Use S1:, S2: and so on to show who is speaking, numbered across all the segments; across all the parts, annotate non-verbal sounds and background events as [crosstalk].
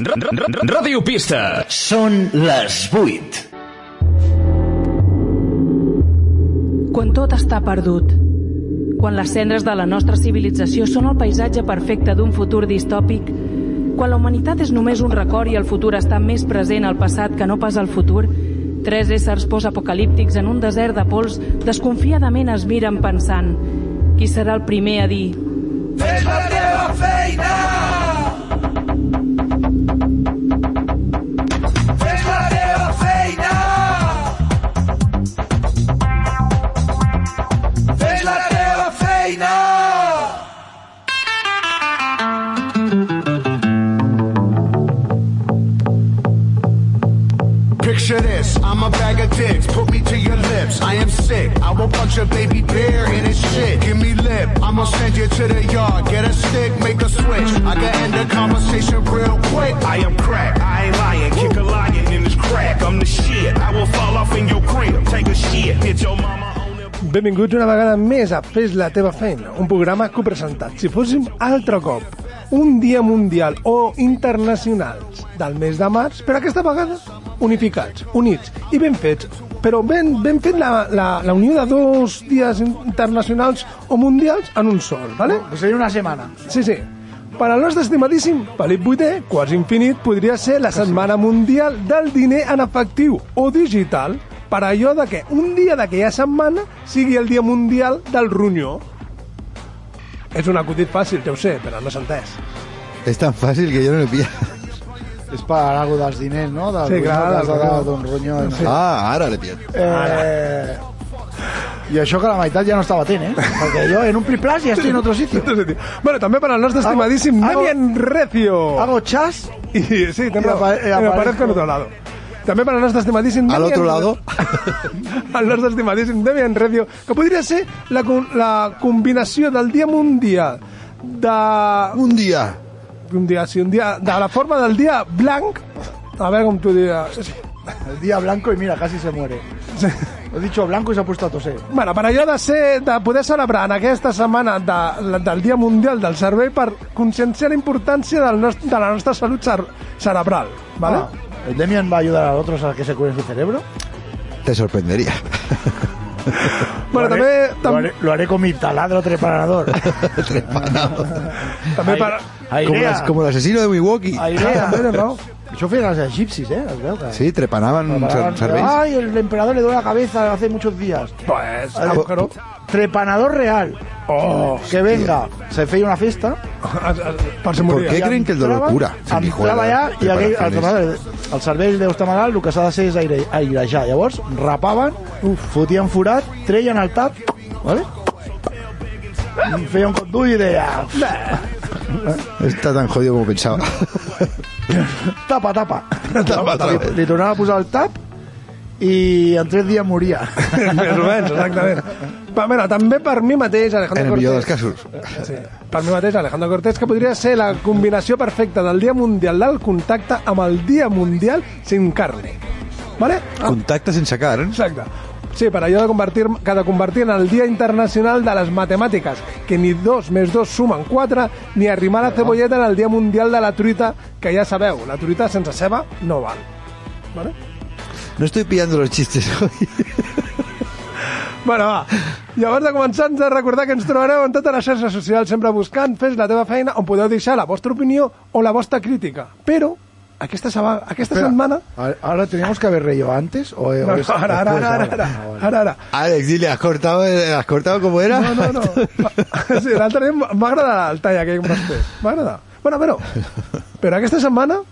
S1: Ra- ra- ra- Ràdio Pista.
S2: Són les 8.
S3: Quan tot està perdut. Quan les cendres de la nostra civilització són el paisatge perfecte d'un futur distòpic. Quan la humanitat és només un record i el futur està més present al passat que no pas al futur. Tres éssers postapocalíptics en un desert de pols desconfiadament es miren pensant qui serà el primer a dir
S4: Picture this, I'm a bag of dicks, put me to your lips. I am sick, I will punch a baby bear in his shit. Give me lip, I'ma send you to the yard, get a stick, make a switch. I can end the conversation real quick.
S5: I am crack, I ain't lying, kick a lion in this crack. I'm the shit, I will fall off in your crib, take a shit, hit your mama on the
S6: Benvinguts una vegada més a Fes la teva feina, un programa que ho presentat si fóssim altre cop un dia mundial o internacionals del mes de març, però aquesta vegada unificats, units i ben fets, però ben, ben fet la, la, la unió de dos dies internacionals o mundials en un sol, ¿vale?
S7: Sería una semana.
S6: Sí, sí. Per al nostre estimadíssim Felip Vuitè, quasi infinit, podria ser la setmana mundial del diner en efectiu o digital per allò de que un dia d'aquella setmana sigui el dia mundial del ronyó. És un acudit fàcil, ja ho sé, però no s'ha entès.
S8: Es tan fácil que yo no lo pillo.
S7: Es para algo de los diners, ¿no? Del
S6: Sí,
S7: ronyó,
S6: clar,
S7: que has
S6: del
S7: donat
S6: ronyó.
S7: d'un ronyó. No?
S8: Ah, ahora le pillo.
S7: Eh, I això que la meitat ja no estava atent, eh? Perquè jo en un plis-plas ja estic en otro sitio.
S6: Bueno, també per al nostre estimadíssim
S7: Hago-
S6: Damian Recio.
S7: Hago chas
S6: I sí, tens
S7: Y
S6: raó.
S7: apa- eh,
S6: Em aparezco
S7: aparezco.
S6: en otro lado. També per al nostre estimadíssim...
S8: Al
S6: Damián-
S8: otro lado.
S6: Al nostre estimadíssim Damian Recio, que podria ser la, con- la combinació del Dia Mundial de...
S8: Un día.
S6: Un dia, sí, un dia... De la forma del dia blanc... A veure com t'ho diré...
S7: el día blanco y mira, casi se muere. He dicho blanco y se ha puesto a toser.
S6: Bueno, per allò de, ser, de poder celebrar en aquesta setmana de, la- del Dia Mundial del Servei per conscienciar la importància del nostre, de la nostra salut cer cerebral, ¿vale?
S7: Ah, ¿El Demian va a ayudar a otros a que se curen su cerebro?
S8: Te sorprendería.
S6: bueno,
S7: lo,
S6: també,
S7: haré, lo,
S6: també,
S7: haré, lo haré con mi taladro
S8: [laughs]
S7: trepanador.
S6: també per...
S8: Como,
S7: Airea.
S8: las- como el asesino de Milwaukee. [laughs]
S7: Airea.
S6: També, no?
S7: Això feien els egipcis, eh? Es veu que...
S8: Sí, trepanaban
S7: Preparaban-
S8: ser- serveis.
S7: Ay, el emperador le duele la cabeza hace muchos días.
S6: Pues,
S7: Ah,
S6: claro.
S7: Trepanador real.
S6: Oh,
S7: Que venga, se feia una fiesta.
S6: per si
S8: ¿Por
S6: moria.
S8: qué
S6: Ja-
S8: creen que el dolor
S7: entrava,
S8: cura?
S7: Entrava
S8: Sanguijuela,
S7: allà i aquell, el,
S8: preparaciones.
S7: trepador- el cervell deu estar malalt, el que s'ha de ser és aire, airejar. Llavors, rapaven, uf, fotien forat, treien el tap, vale? I feia un cop d'ull i deia,
S8: Está tan jodido como pensaba.
S7: tapa, tapa.
S8: Tapa, tapa.
S7: Li, li tornava a posar el tap i en tres dies moria.
S6: Més o menys, exactament. Però, mira, també [laughs] per mi mateix,
S8: En
S6: Alejandro
S8: el
S6: Cortés...
S8: millor dels casos.
S6: Sí. Per mi mateix, Alejandro Cortés, que podria ser la combinació perfecta del Dia Mundial del Contacte amb el Dia Mundial sin carne. Vale? Ah,
S8: Contacta sin sacar. ¿eh?
S6: Exacte. Sí, per allò de convertir, que de convertir en el Dia Internacional de les Matemàtiques, que ni dos més dos sumen quatre, ni arrimar la cebolleta en el Dia Mundial de la Truita, que ja sabeu, la truita sense ceba no val. Vale?
S8: No estoy pillando los chistes hoy. [laughs]
S6: Bueno, va. I abans de començar, ens de recordar que ens trobareu en totes les xarxes socials sempre buscant Fes la teva feina, on podeu deixar la vostra opinió o la vostra crítica. Però aquesta, seba, aquesta setmana...
S7: [laughs] Ara- Ahora teníamos que haber reído antes o, o
S6: No,
S7: es-
S6: no, ara, ara,
S7: después,
S6: ara, ara, ara,
S7: Ah, vale.
S6: ara, ara.
S8: Alex, dile, ¿has cortado, ¿has cortado como era?
S6: No, no, [laughs] no. Sí, l'altre dia m'agrada el tall aquell que vas fer. M'agrada. Bueno, però, però aquesta setmana,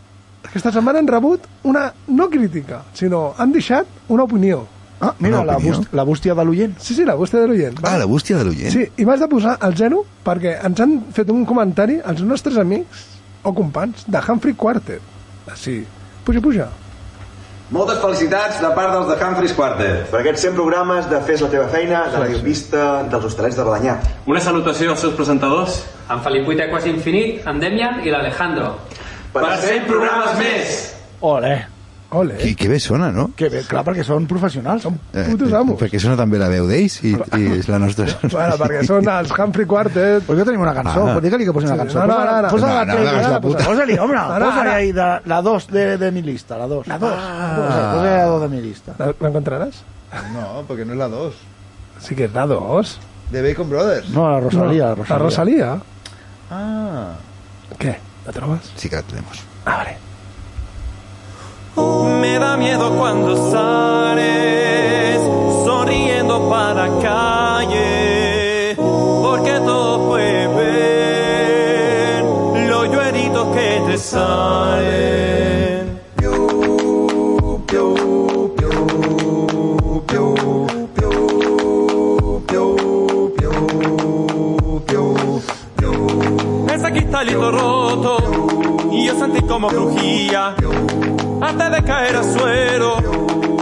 S6: aquesta setmana han rebut una, no crítica, sinó han deixat una opinió.
S7: Ah, mira,
S8: Una
S7: la,
S8: opinió.
S7: bust, la bustia de l'Ullent.
S6: Sí, sí, la vostra de l'oient.
S8: [laughs] Ah, la bústia de l'Ullent.
S6: Sí, i m'has de posar el zero perquè ens han fet un comentari els nostres amics o companys de Humphrey Quartet. Així, puja, puja.
S9: Moltes felicitats de part dels de Humphreys Quartet.
S10: Per aquests 100 programes de Fes la teva feina, de Radio Vista, dels Hostalets de Balanyà.
S11: Una salutació als seus presentadors.
S9: Amb Felip Vuitè quasi infinit, amb Demian i l'Alejandro.
S10: Per
S11: Per 100 programes més!
S7: Ole.
S6: Ole.
S12: Que, que bé sona, no?
S7: Que bé, clar, perquè són professionals, són
S12: Eh,
S7: putos amos.
S12: perquè sona també la veu d'ells i, i és la
S7: [laughs]
S12: nostra.
S6: Bueno, perquè són els Humphrey Quartet. Pues
S7: jo tenim una cançó,
S12: Ah.
S7: pues digue-li que posi una
S6: Sí,
S7: cançó.
S6: no, no, no, no.
S7: Posa
S12: No,
S7: la
S12: no,
S7: tres,
S12: hagas la
S7: posa-
S12: puta.
S7: Posa-li, home,
S6: No, no,
S7: posa-li
S6: no.
S7: ahí de- la dos de, de mi lista, la dos. Ah. La dos. Posa, posa la dos de mi lista.
S6: ¿La, la encontrarás?
S12: No, perquè no és la 2.
S6: Sí que es la 2.
S12: De Bacon Brothers.
S7: No, la Rosalía, la
S6: No,
S7: Rosalía.
S6: La Rosalía.
S12: Ah.
S6: ¿Qué? ¿La trobas?
S12: Sí que la tenemos.
S6: Ah, vale.
S13: Me da miedo cuando sales sonriendo para calle, porque todo puede ver los lloritos que te salen. Ese cristalito roto y yo sentí como crujía hasta de caer al suelo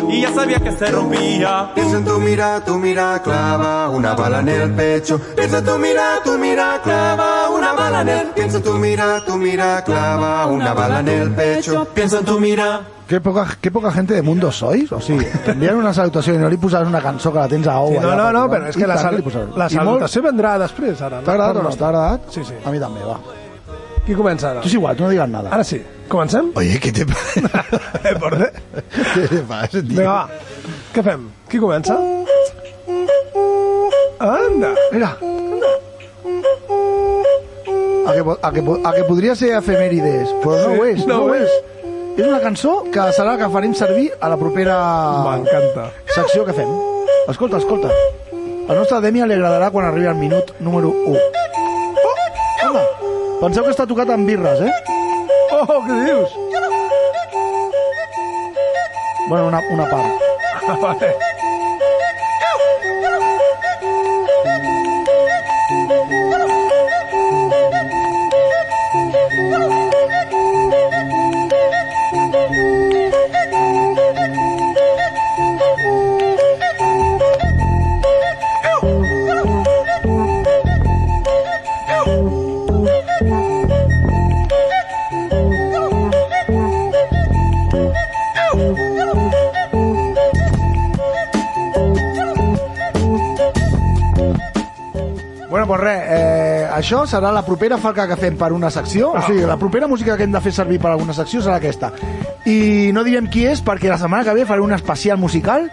S13: y ya sabía que se rompía.
S8: Piensa en tu mira, tu mira, clava una bala en el pecho. Piensa en tu mira, tu mira, clava una bala en el. Piensa en tu mira, tu mira, clava una bala en el pecho. Piensa en tu mira.
S7: Qué poca, qué poca gente de mundo sois. O sigui, t'envien una salutació i no li posaràs una cançó que la tens a
S6: Sí,
S7: OVA.
S6: no, no, no, però és que la, sal, la salutació
S7: molt...
S6: vendrà després, ara. no?
S7: T'ha agradat o no?
S6: Perdona.
S7: T'ha agradat?
S6: Sí, sí.
S7: A mi també, va.
S6: Qui comença ara?
S7: Tu és igual, tu no digues nada.
S6: Ara sí. Comencem? Eh,
S12: Oye, ¿qué te pasa?
S6: [laughs]
S12: ¿Qué te pasa, tío?
S6: Vinga, va. Què fem? Qui comença? Anda!
S7: Mira. A que, po- a, que, po- a que podria ser efemèrides, però no
S6: Sí,
S7: ho és, no,
S6: no ho
S7: ho és. És una cançó que serà la que farem servir a la propera
S6: M'encanta.
S7: secció que fem. Escolta, escolta. Al nostre Demi li agradarà quan arribi al minut número 1. Oh, home, penseu que està tocat amb birres, eh?
S6: Oh, què dius?
S7: Bueno, una, una part.
S6: Ah, vale.
S7: Bueno, doncs res, eh, això serà la propera falca que fem per una secció, o sigui, la propera música que hem de fer servir per alguna secció serà aquesta. I no direm qui és perquè la setmana que ve faré un especial musical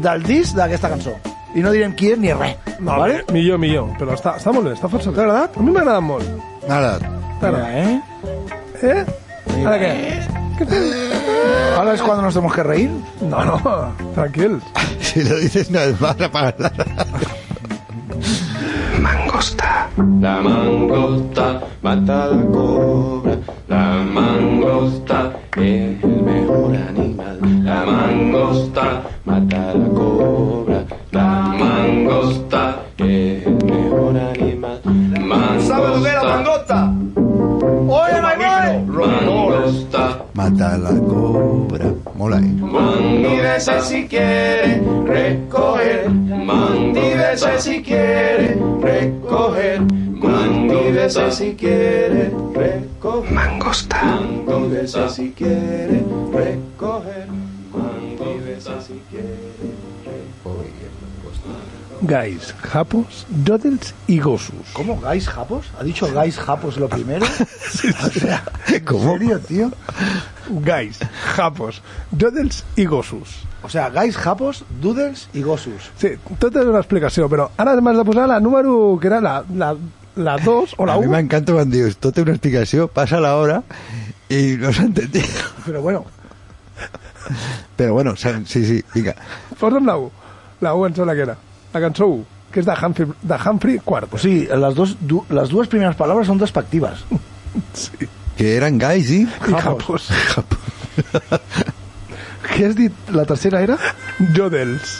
S7: del disc d'aquesta cançó. I no direm qui és ni res,
S6: No,
S7: vale?
S6: Millor, millor. Però està, està molt bé, està força bé. T'ha agradat? A mi m'ha agradat molt.
S12: Nada.
S6: T'ha agradat.
S7: eh?
S6: Eh? Ara què?
S7: Ahora es cuando nos tenemos que reír.
S6: No, no, tranquil.
S12: Si lo dices, no es más apagar la radio.
S14: Mangosta. La mangosta mata la cobra. La mangosta es el mejor animal. La mangosta mata la cobra. La mangosta es el mejor animal.
S15: ¿Sabe lo que es la
S14: Mangosta.
S15: mangota? ¡Oye, my boy!
S14: Mangosta.
S12: [laughs] Mata la cobra. Mola, eh?
S14: Mangosta.
S15: si quiere recoger.
S14: Mangosta.
S15: si quiere recoger.
S14: Mangosta.
S15: si quiere recoger. Mangosta.
S14: Mangosta.
S15: si quiere recoger. Mangosta si quiere.
S6: Gais, japos, yodels y gosus.
S7: ¿Cómo? ¿Gais Japos? ¿Ha dicho Gais Japos lo [laughs] primero? O sea,
S12: ¿Cómo?
S7: ¿En serio, tío?
S6: Gais, japos, yodels y gosus.
S7: O sea, Gais Japos, Doodles y Gosus.
S6: Sí, tot és una explicació, però ara m'has de posar la número, que era la, la, la 2 o la
S12: A mí
S6: 1.
S12: me encanta cuando dices, tú te una explicación, pasa la hora y no se ha entendido. [laughs]
S7: Pero bueno,
S12: Pero bueno, Sam, sí, sí, venga.
S6: Posa'm la 1. La 1 em sembla que era. La cançó 1, que és de Humphrey, de Humphrey Quart.
S7: o sigui, les, Pues dos, du, les dues primeres paraules són despectives.
S12: Que eran guys, ¿sí?
S6: I capos.
S7: [laughs] Què has dit? La tercera era?
S6: Jodels.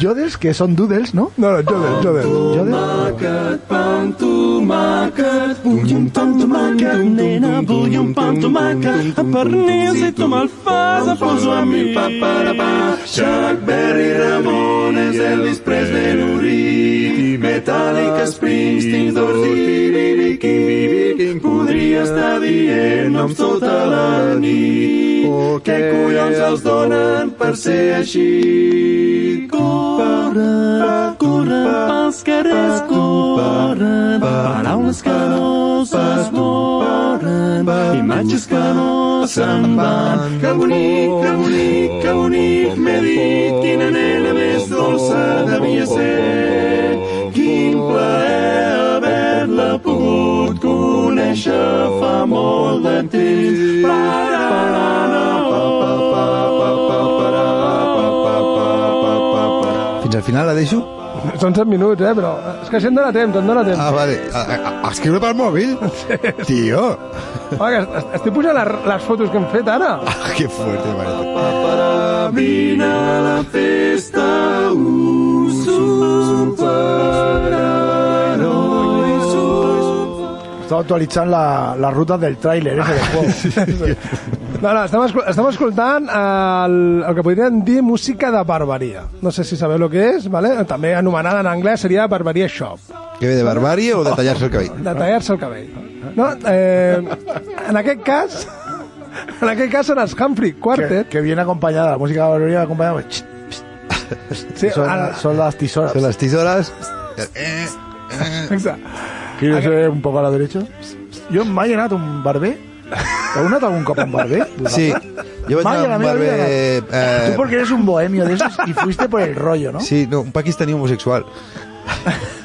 S7: Jodels, que són doodles, no?
S6: No, no, jodels, jodels.
S7: Jodels?
S13: Tomàquet, vull un tom tomàquet, nena, vull un pam tomàquet, amb pernil, si tu me'l fas, em poso a mi.
S8: Chuck Berry, Ramones, Elvis Presley, Nuri, Metallica, Springsteen, Dorothy, Bibi King, Bibi King. Podria
S16: qui està dient-nos tota la nit oh, què collons els donen per ser així. Corren, corren pels carrers, corren paraules que no s'esborren, imatges que no se'n van. Que bonic, que bonic, que bonic, m'he dit quina nena més dolça devia ser. Quin plaer haver-la pogut conèixer fa molt de temps. Pararà,
S8: Fins al final la deixo?
S6: Són 7 minuts, eh, però... És que així em dóna temps, em dóna temps.
S8: Ah, vale. A, a, a escriure pel mòbil? Tio,
S6: Home, que est- est- estic pujant les, les fotos que hem fet ara.
S8: [laughs] que fuerte, vale.
S16: Vine a la festa, un superheroi,
S7: Estava actualitzant la, la ruta del tràiler, eh, del [laughs] juego.
S6: No, no, estem, escol estem escoltant el, el que podríem dir música de barbaria. No sé si sabeu el que és, vale? també anomenada en anglès seria Barbaria Shop,
S8: Que ve de barbàrie o de tallar-se el cabell?
S6: de tallar-se el cabell. No? Eh, en aquest cas, [laughs] en aquest cas són els Humphrey
S7: que,
S6: Quartet.
S7: que viene acompañada, la música de Valoria acompañada. pues, xt,
S6: Sí,
S7: son,
S6: al-
S7: son las tisoras.
S8: Són les tisores...
S6: Exacte.
S7: ¿Quieres ser un poco a la derecha? Jo m'ha llenat un barber. Heu anat algun cop a un [laughs] barber?
S8: Sí, jo vaig
S7: Mai a la
S8: anar a un
S7: meva
S8: barber...
S7: vida
S8: Eh,
S7: Tú porque eres un bohemio de esos y fuiste por el rollo, ¿no?
S8: Sí, no, un pakistaní homosexual.
S7: [laughs]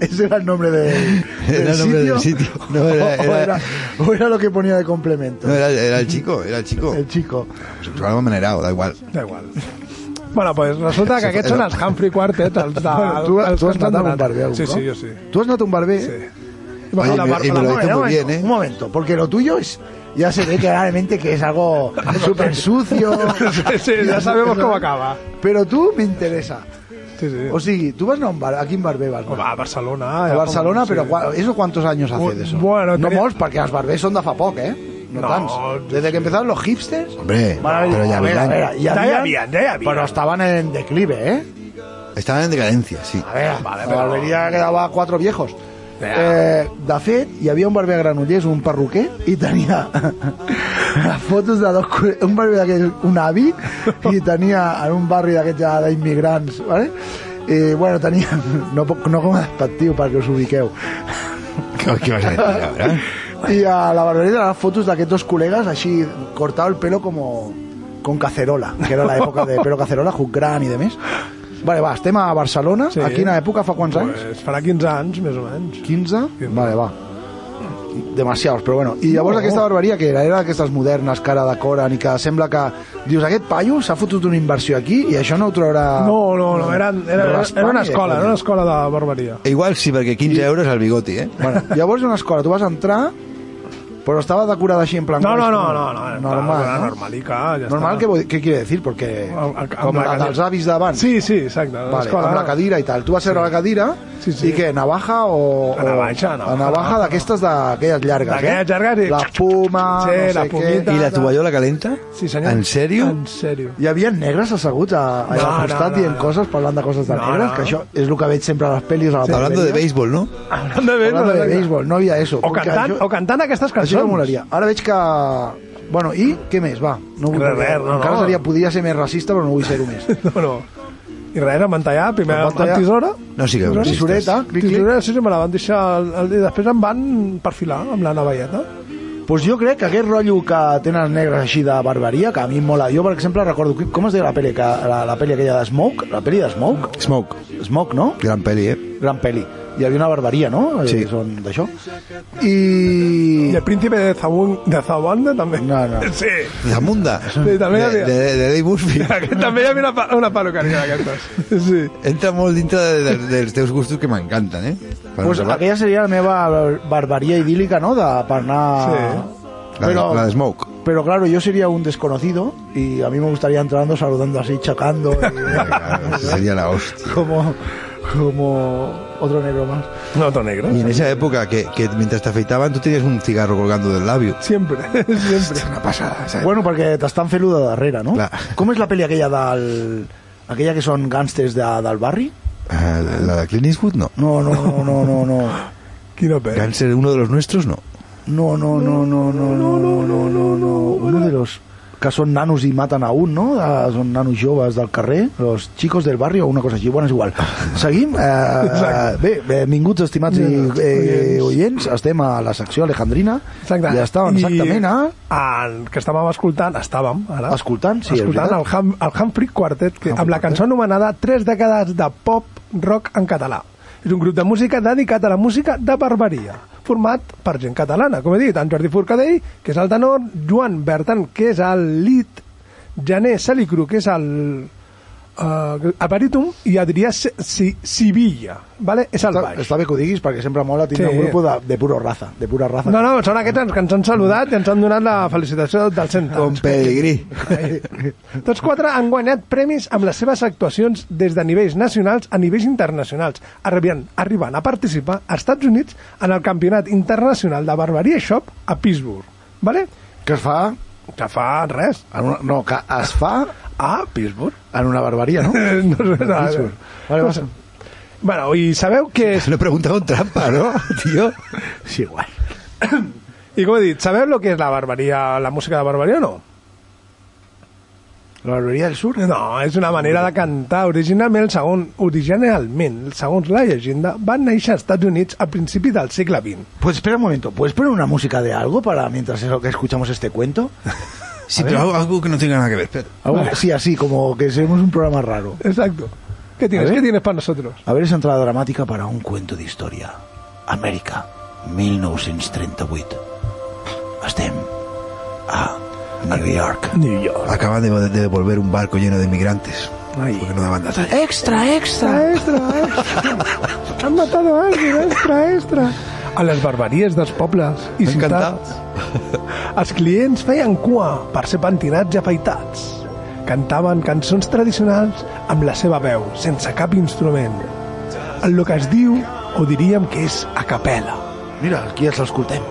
S7: Ese era el nombre de, [laughs]
S8: Era el nombre del sitio. No, era,
S7: O, [laughs]
S8: era,
S7: era, o era lo que ponía de complemento.
S8: no, era, era el chico, era el chico.
S7: El chico.
S8: Homosexual o manerado, da igual.
S6: Da igual. Bueno, pues resulta que aquests són els Humphrey Quartet, els de...
S7: Bueno, tu,
S6: els
S7: tu
S6: que
S7: has
S6: ens han
S7: anat a un
S6: donat.
S7: barber algún
S6: Sí,
S7: cop?
S6: sí, jo sí.
S7: ¿Tú has anat a un barber?
S8: Oye, y me- y me lo hizo muy bien, ¿eh?
S7: Un momento, porque lo tuyo es... Ya se ve claramente que es algo [laughs] súper [laughs] sucio.
S6: Sí, sí, ja sabemos com acaba.
S7: Pero tú me interesa.
S6: Sí, sí.
S7: O sigui, tú vas a un bar... ¿A quin barber vas?
S6: Home, a Barcelona...
S7: a
S6: ja
S7: Barcelona,
S6: com- sí.
S7: però cua- ¿eso cuántos años hace de eso?
S6: Bueno,
S7: no
S6: tenia-
S7: molts, perquè els barbers són de fa poc, eh? No,
S6: No,
S7: tants. Desde que empezaron los hipsters...
S8: Hombre,
S7: van haver-
S8: pero ya
S7: a ver, a ver,
S8: habían.
S7: ya
S6: Ja hi
S7: habían,
S6: havia, ja hi havia.
S7: Pero estaban en declive, ¿eh?
S8: Estaban en decadencia, sí.
S7: A veure,
S6: Vale,
S7: vale,
S6: però-
S7: la barberia quedava a quatre viejos.
S6: Ja.
S7: Eh, de fet, hi havia un barber a Granollers, un perruquer, i tenia [laughs] fotos de dos, col- un barber d'aquest, un avi, i tenia en un barri d'aquests ja d'immigrants, vale? I, bueno, tenia... No, puc- no com a despectiu, perquè us ubiqueu.
S8: ¿Qué, qué vas a decir ahora?
S7: I a la barberia tenia fotos d'aquests dos col·legues així, cortado el pelo como con cacerola, que era l'època de pelo cacerola, Jucran i de més. Vale, va, estem a Barcelona.
S6: Sí.
S7: Sí. A quina època? Fa quants anys?
S6: Pues, farà 15 anys, més o menys.
S7: 15? Vale, va. Demasiados, però bueno. I llavors
S6: No.
S7: no. aquesta barbaria que era? Era d'aquestes modernes que ara decoren i que sembla que... Dius, aquest paio s'ha fotut una inversió aquí i això no ho traurà...
S6: No, no, no, era, era, era, era una escola, era una escola de barbaria.
S8: E Igual sí, perquè 15 euros al bigoti, eh?
S7: Bueno, llavors una escola, tu vas entrar, però estava decorada així en plan...
S6: No, no, no, no, no,
S7: normal,
S6: era
S7: no?
S6: normalica, ja
S7: Normal,
S6: està.
S7: què, vol dir- què quiere decir? Perquè
S6: Amb- amb
S7: com
S6: la
S7: la
S6: cadira.
S7: dels avis d'abans.
S6: Sí, sí, exacte.
S7: Vale,
S6: escola-
S7: amb la cadira i tal. Tu vas ser a la cadira
S6: Sí, sí.
S7: i què, navaja o...
S6: A navaja,
S7: o-
S6: a navaja.
S7: a navaja d'aquestes d'aquelles llargues, eh?
S6: D'aquelles llargues i-
S7: La espuma,
S6: Sí,
S7: no sé
S6: la
S7: què.
S6: pomita.
S8: ¿Y la tovallola calenta?
S6: Sí, senyor.
S8: ¿En serio?
S6: En sèrio.
S7: Hi havia negres asseguts a, a
S6: No,
S7: no,
S6: no,
S7: costat
S6: no,
S7: dient
S6: no.
S7: coses, parlant de coses de
S6: No,
S7: negres,
S6: no.
S7: que això és el que veig sempre a les pel·lis a la
S8: Hablando de
S7: barberia.
S8: béisbol, ¿no?
S6: Hablando de béisbol.
S7: Hablando de
S6: exacte.
S7: béisbol, no hi havia eso.
S6: O
S7: perquè
S6: cantant,
S7: això-
S6: o cantant aquestes
S7: Això
S6: cançons.
S7: que molaria. Ara veig que... Bueno, i què més? Va, no vull...
S6: Res, res, no,
S7: Encara
S6: no.
S7: seria, podria ser més racista, però no vull ser-ho més.
S6: [laughs] No, no. I res, era mantellà, primer
S7: Amb
S6: amb
S7: mantellà.
S6: tisora.
S8: No sigueu
S6: Tisora.
S8: racistes.
S7: Tisoreta, clic, clic.
S6: Tisoreta, sí, sí, me la van deixar... El, el, I després em van perfilar amb la navalleta.
S7: pues jo crec que aquest rotllo que tenen els negres així de barbaria, que a mi em mola. Jo, per exemple, recordo... Com es deia la pel·li, que, la, la pel·li aquella de Smoke? La pel·li de Smoke?
S8: Smoke.
S7: Smoke, no?
S8: Gran peli, ¿eh?
S7: Gran pel·li. Hi havia una barbaria, no? Eh,
S8: Sí.
S7: Són d'això. I...
S6: I el príncipe de, Zabun, de Zabanda també. [laughs]
S7: No, no.
S6: Sí.
S17: [laughs]
S8: Zamunda.
S6: Sí, també hi
S8: de,
S6: havia.
S8: de, de Dave Busby.
S6: Aquest també hi havia una, pa- una perruqueria d'aquestes. Sí.
S8: Entra molt dintre de, de, dels teus gustos que m'encanten, eh? Per
S7: Pues
S8: exemple,
S7: aquella seria la meva bar- barbaria idílica, no?, de, per anar...
S6: Sí.
S8: la, de- la de Smoke.
S7: Pero claro, yo sería un desconocido y a mí me gustaría entrando, saludando así, chacando,
S8: [laughs]
S7: y- [laughs]
S8: Claro, esa sería la hostia.
S7: como, como otro negro más.
S6: No, to negre.
S8: Y en esa época que, que mientras te afeitaban tú tenías un cigarro colgando del labio.
S6: Sempre, [laughs] sempre.
S8: Una pasada, ¿sabes?
S7: Bueno, perquè t'estan fent-ho de darrere, no?
S8: Clar.
S7: Com és la pel·li aquella del... Aquella que són gàngsters de, del barri?
S8: Ah, la de Clint Eastwood no.
S7: No, no, no, no, no, no.
S6: Quina pena.
S8: Cáncer, uno de los nuestros no.
S7: No, no, no, no, no, no, no, no, no, no. Uno de los que són nanos i maten a un, no? Ah, són nanos joves del carrer, los chicos del barri o una cosa així, bueno, és igual. Seguim? Eh,
S6: Exacte.
S7: bé, benvinguts, estimats i, eh, oients, estem a la secció alejandrina.
S6: Exacte.
S7: Ja estàvem exactament a...
S6: I el que estàvem escoltant, estàvem ara.
S7: Escoltant, sí, és
S6: Escoltant el,
S7: veritat.
S6: Ham, el Humphrey Quartet, que, amb la cançó anomenada Tres dècades de pop rock en català. És un grup de música dedicat a la música de barbaria, format per gent catalana, com he dit, en Jordi Forcadell, que és el tenor, Joan Bertan, que és el lead, Jané Salicru, que és el Uh, a Barítum i Adrià Se- Si- Sivilla, vale? és el baix.
S7: Està bé que ho diguis perquè sempre mola tindre
S6: Sí.
S7: un grup de, de puro raza, de pura raza.
S6: No, no, són aquests que ens han saludat i ens han donat la felicitació del 100 anys.
S7: Con pedigrí.
S6: Tots quatre han guanyat premis amb les seves actuacions des de nivells nacionals a nivells internacionals, arribant, arribant a participar a Estats Units en el Campionat Internacional de Barbaria Shop a Pittsburgh. Vale?
S7: Que es fa?
S6: Que fa res.
S7: En una, no, que es fa
S6: a Pittsburgh.
S7: En una barbaria,
S6: [laughs]
S7: no?
S6: Eh, no sé,
S7: A
S6: no,
S7: Pittsburgh.
S6: Vale,
S7: Vale,
S6: no,
S7: passa.
S6: Bueno, i sabeu que...
S8: Lo he preguntado en trampa, ¿no, tío?
S7: [laughs] Sí, igual.
S6: I com he dit, sabeu lo que és la barbaria, la música de barbaria o no?
S7: La barberia del sur?
S6: No, és una manera de cantar. Originalment, el segon, originalment, segons la llegenda, van néixer als Estats Units a principi del segle XX.
S7: Pues espera un momento, ¿puedes poner una música de algo para mientras eso que escuchamos este cuento?
S17: Sí,
S7: A
S17: pero
S7: ver.
S17: algo, algo que no tenga nada que ver. Espera.
S7: Algo- sí, así, como que seamos un programa raro.
S6: Exacto. ¿Qué tienes?
S7: A ver.
S6: ¿Qué tienes para nosotros?
S7: A ver, esa entrada dramática para un cuento d'història. Amèrica, 1938. Estem a New York.
S6: New York.
S17: Acaban de, de devolver un barco lleno de inmigrantes. Porque no daban data.
S7: Extra, extra,
S6: extra, extra. Han matado a alguien, extra, extra. A les barbaries dels pobles
S7: Eh,
S6: i ciutats, els clients feien cua per ser pentinats i afaitats. Cantaven cançons tradicionals amb la seva veu, sense cap instrument. En lo que es diu, o diríem que és a capella.
S7: Mira, aquí els escoltem.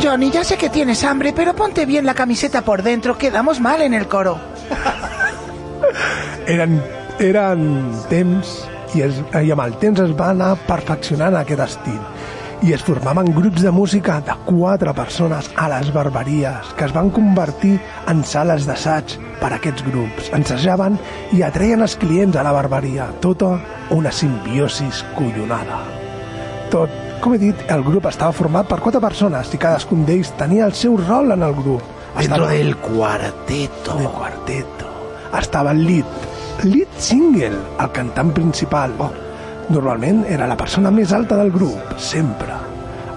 S18: Johnny, ya sé que tienes hambre, pero ponte bien la camiseta por dentro, quedamos mal en el coro.
S6: eren, eren temps i, es, i amb el temps es va anar perfeccionant aquest estil i es formaven grups de música de quatre persones a les barberies que es van convertir en sales d'assaig per a aquests grups. Ensejaven i atreien els clients a la barberia, tota una simbiosis collonada. Tot, com he dit, el grup estava format per quatre persones i cadascun d'ells tenia el seu rol en el grup.
S7: Dentro
S6: Estava-
S7: del cuarteto.
S6: del cuarteto. Estava el lead, lead single, el cantant principal. Oh. Normalment era la persona més alta del grup, sempre.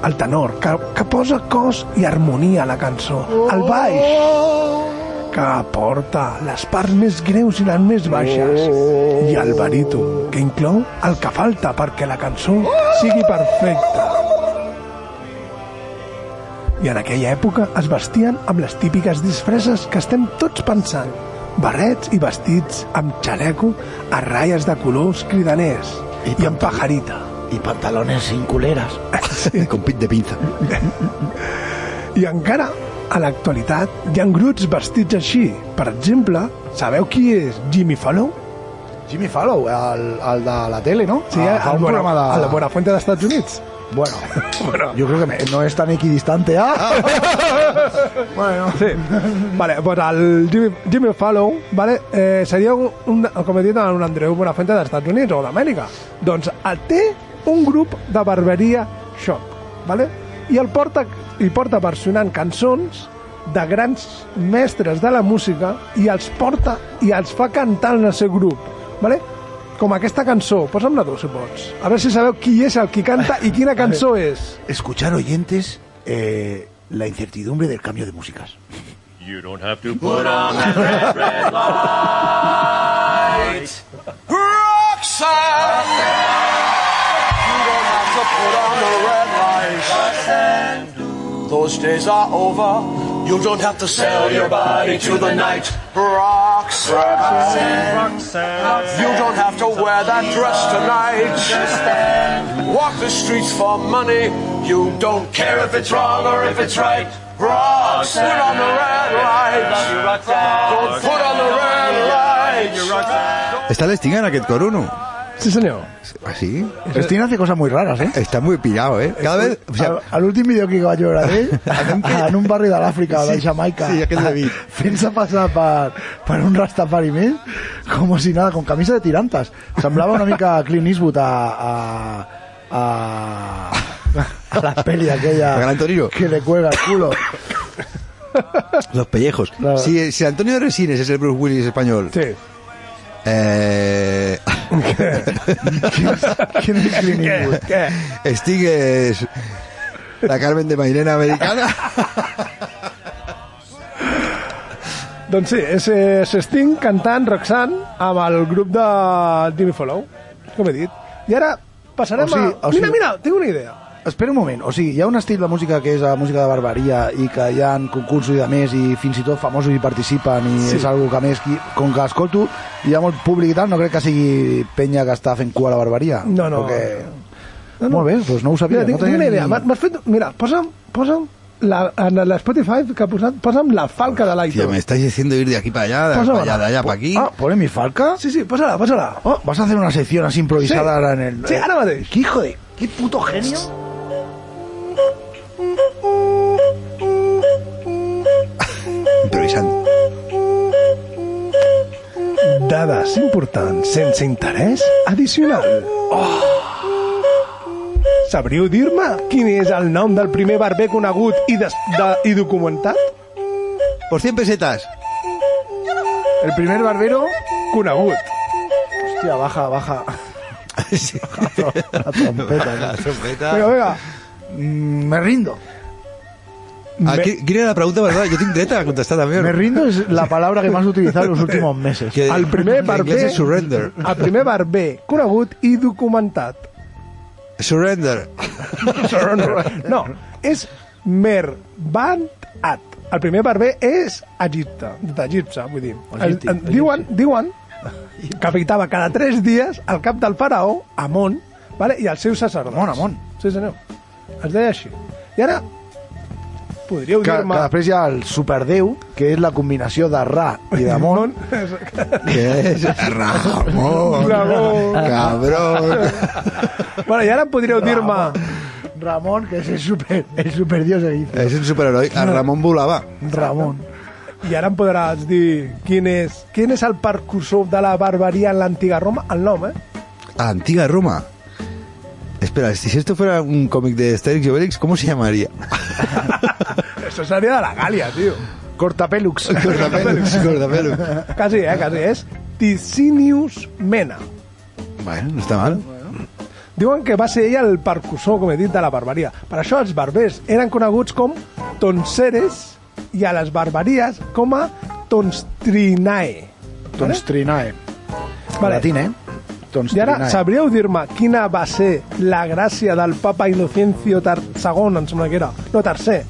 S6: El tenor, que, que posa cos i harmonia a la cançó. El baix, que aporta les parts més greus i les més baixes. I el baríton, que inclou el que falta perquè la cançó sigui perfecta. I en aquella època es vestien amb les típiques disfresses que estem tots pensant. Barrets i vestits amb xaleco a ratlles de colors cridaners i, i amb pajarita.
S7: Y pantalones sin culeras.
S8: Eh, Con pit de pinza.
S6: I encara, a l'actualitat, hi ha grups vestits així. Per exemple, sabeu qui és Jimmy Fallon?
S7: Jimmy Fallow, el, el de la tele, no?
S6: Sí,
S7: Ah,
S6: el,
S7: un
S6: Buena-
S7: programa de-
S6: el de Buenafuente dels Estats Units.
S8: [laughs]
S7: Bueno, yo creo que me- no es tan equidistante. ¿ah? bueno.
S6: Sí. Vale, pues el Jimmy, Jimmy Fallon vale, eh, seria un, un, com he dit, un Andreu Buenafuente dels Estats Units o d'Amèrica. Doncs el té un grup de barberia shop, vale? i el porta, i porta versionant cançons de grans mestres de la música i els porta i els fa cantar en el seu grup. Vale? Com aquesta cançó, posa'm-la tu, si pots. A veure si sabeu qui és el qui canta i quina cançó és.
S7: [laughs] Escuchar oyentes eh, la incertidumbre del cambio de músicas.
S19: You don't have to put on that red, red light. Roxanne! You don't have to put on the red light. Those days are over. You don't have to sell your body to the night. Roxanne, you don't have to wear that dress tonight. Walk the streets for money. You don't care if it's wrong or if it's right. Roxanne, put on the red light. Don't put on the red light.
S8: Està l'Sting en aquest coro, no?
S6: Sí, senyor.
S8: ¿Así?
S7: Cristina hace cosas muy raras, ¿eh?
S8: Está muy pirado, ¿eh? Cada vez... O sea,
S7: al, al últim vídeo que vaig veure
S8: [laughs]
S7: d'ell, en un barri de l'Àfrica, de
S8: Sí,
S7: Jamaica,
S8: sí, aquest l'he vist.
S7: [laughs] fent-se passar per, per un rastafari més, com si nada, con camisa de tirantes. Semblava una mica Clint Eastwood a... a, a a la peli aquella
S8: A Gran Torino.
S7: que le cuelga el culo.
S8: Los pellejos. Si, si Antonio Resines es el Bruce Willis español.
S6: Sí.
S8: Eh...
S7: ¿Quién es Clint Eastwood?
S8: [laughs] Sting es la Carmen de Mairena americana.
S6: Doncs sí, és, és Sting cantant Roxanne amb el grup de Jimmy Follow, com he dit. I ara passarem
S7: O sigui-
S6: a...
S7: o sigui-
S6: Mira, mira, tinc una idea.
S7: Espera un moment, o sigui, hi ha un estil de música que és la música de barbaria i que hi ha concursos i de més i fins i tot famosos hi participen i
S6: Sí.
S7: sí. és algo que a més, qui- com que escolto hi ha molt públic i tal, no crec que sigui penya que està fent cua a la barbaria.
S6: No, no.
S7: Perquè...
S6: No, no.
S7: Molt bé, doncs no ho sabia.
S6: Mira, tinc,
S7: no
S6: tinc
S7: tenia
S6: una
S7: ni-
S6: idea. M'ha- M'has fet... Mira, posa'm, posa'm la, en la Spotify que ha posat, posa'm la falca de
S8: Tío, me
S6: l'iTunes.
S8: estáis diciendo ir de aquí para allá, de, para
S6: Pósamela.
S8: allá, de allá para aquí.
S7: Ah, ¿pone mi falca?
S6: Sí, sí, posa-la, posa-la.
S7: Oh, vas a hacer una sección así improvisada
S6: Sí.
S7: ahora en el... Eh,
S6: Sí, ara mateix.
S7: ¿Qué hijo de... ¿Qué puto genio?
S8: Improvisando.
S6: Dades importants sense interès addicional. Oh. Sabríeu dir-me quin és el nom del primer barber conegut i, des, de, i documentat?
S8: Por 100 pesetas. [laughs]
S7: El primer barbero...
S6: Conegut.
S7: Hostia, baja,
S6: [laughs]
S7: baja.
S8: Sí.
S7: La trompeta.
S8: La
S7: ¿no?
S8: trompeta.
S7: Venga, venga. Mm, me rindo.
S8: Ah, ¿qui- ¿Quién era la pregunta, verdad? Yo tengo directa a contestar también.
S7: Me rindo es la palabra que más he utilizado en los últimos meses.
S8: Que-
S6: El primer
S8: en inglés
S6: barber...
S8: es surrender.
S6: El primer barber conegut i documentat.
S8: Surrender.
S6: No, és Merbantat. El primer barber és Egipte, d'Egipte, vull dir. El,
S7: Egipte,
S6: el, diuen, diuen
S7: [laughs]
S6: que habitava cada tres dies al cap del faraó, Amon, vale? i els seus sacerdots.
S7: Amon, Amon.
S6: Sí, senyor. Es deia així. I ara podríeu
S7: Que, que
S6: dir-me...
S7: després hi ha el superdeu, que és la combinació de Ra i
S6: [laughs]
S7: de Mon.
S8: ¿Qué es? [laughs] Ramón.
S6: Ramón.
S8: Cabrón.
S6: Bueno, I ara podríeu dir-me...
S7: Ramón, que és el, super, el superdios egipcio.
S8: Es un superhéroe. A Ramón Bulaba.
S7: Ramon.
S6: I ara em podràs dir quin és, quin és el percursor de la barbaria en l'antiga Roma, el nom, eh?
S8: Ah, Antigua Roma. Espera, si esto fuera un cómic de Asterix y Obelix, ¿cómo se llamaría?
S6: Això seria de la Gàlia, tio.
S7: [laughs] Cortapelux.
S8: [laughs] Gordapelux, Gordapelux.
S6: Quasi, eh? Quasi. És Ticinius Mena.
S8: Bueno, no está mal.
S6: Diuen que va ser ella el percussor, com he dit, de la barbaria. Per això els barbers eren coneguts com tonseres i a les barbaries com a tonstrinae.
S7: Doncs Trinae.
S6: Vale.
S7: Latín, eh? Doncs
S6: I ara
S7: Trinae.
S6: [laughs] sabríeu dir-me quina va ser la gràcia del papa Innocencio ter- II, em sembla que era, no, tercer,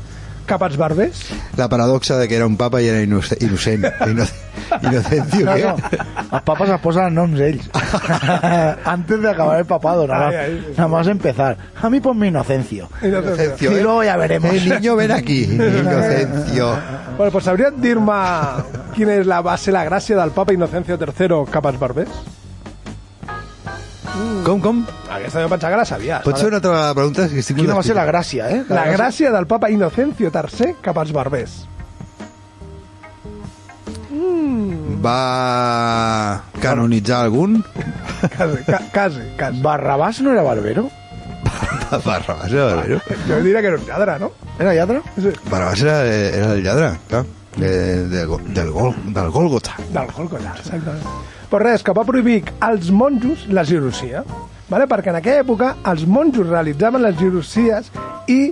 S6: cap als barbers?
S8: La paradoxa de que era un papa y era inoc- inocente.
S7: [laughs]
S8: Inoc- Inocencio,
S7: No,
S8: ¿qué?
S7: no. Els papes es posen noms ells. Antes de acabar el papado, nada,
S6: Ay,
S7: más-
S6: ay.
S7: nada más empezar. A mí ponme Inocencio.
S6: Innocencio.
S8: Inocencio,
S7: Y
S8: ¿eh?
S7: luego ya veremos.
S8: El
S7: [laughs]
S8: niño, ven aquí. Inocencio.
S6: Bueno, pues sabríeu dir-me quina és la, va ser la gràcia del papa Innocencio III cap als barbers?
S8: Com, com?
S6: Aquesta jo pensava que la sabies.
S8: Pot ser una altra pregunta? Que estic
S7: Quina
S8: molt
S7: va ser la
S8: despit.
S7: gràcia, eh?
S6: La gràcia del papa Innocencio III cap als barbers.
S8: Va canonitzar algun?
S6: Quasi, ca, quasi, quasi.
S7: Barrabàs no era barbero?
S8: Barrabàs era barbero.
S6: Jo diria que era un lladre, no?
S7: Era lladre?
S6: Sí.
S8: Barrabàs era, era el lladre, clar. De, de, go- del, gol, del Gólgota.
S6: Del Holcollar, exactament. Però res, que va prohibir als monjos la cirurgia. Vale? Perquè en aquella època els monjos realitzaven les cirurgies i,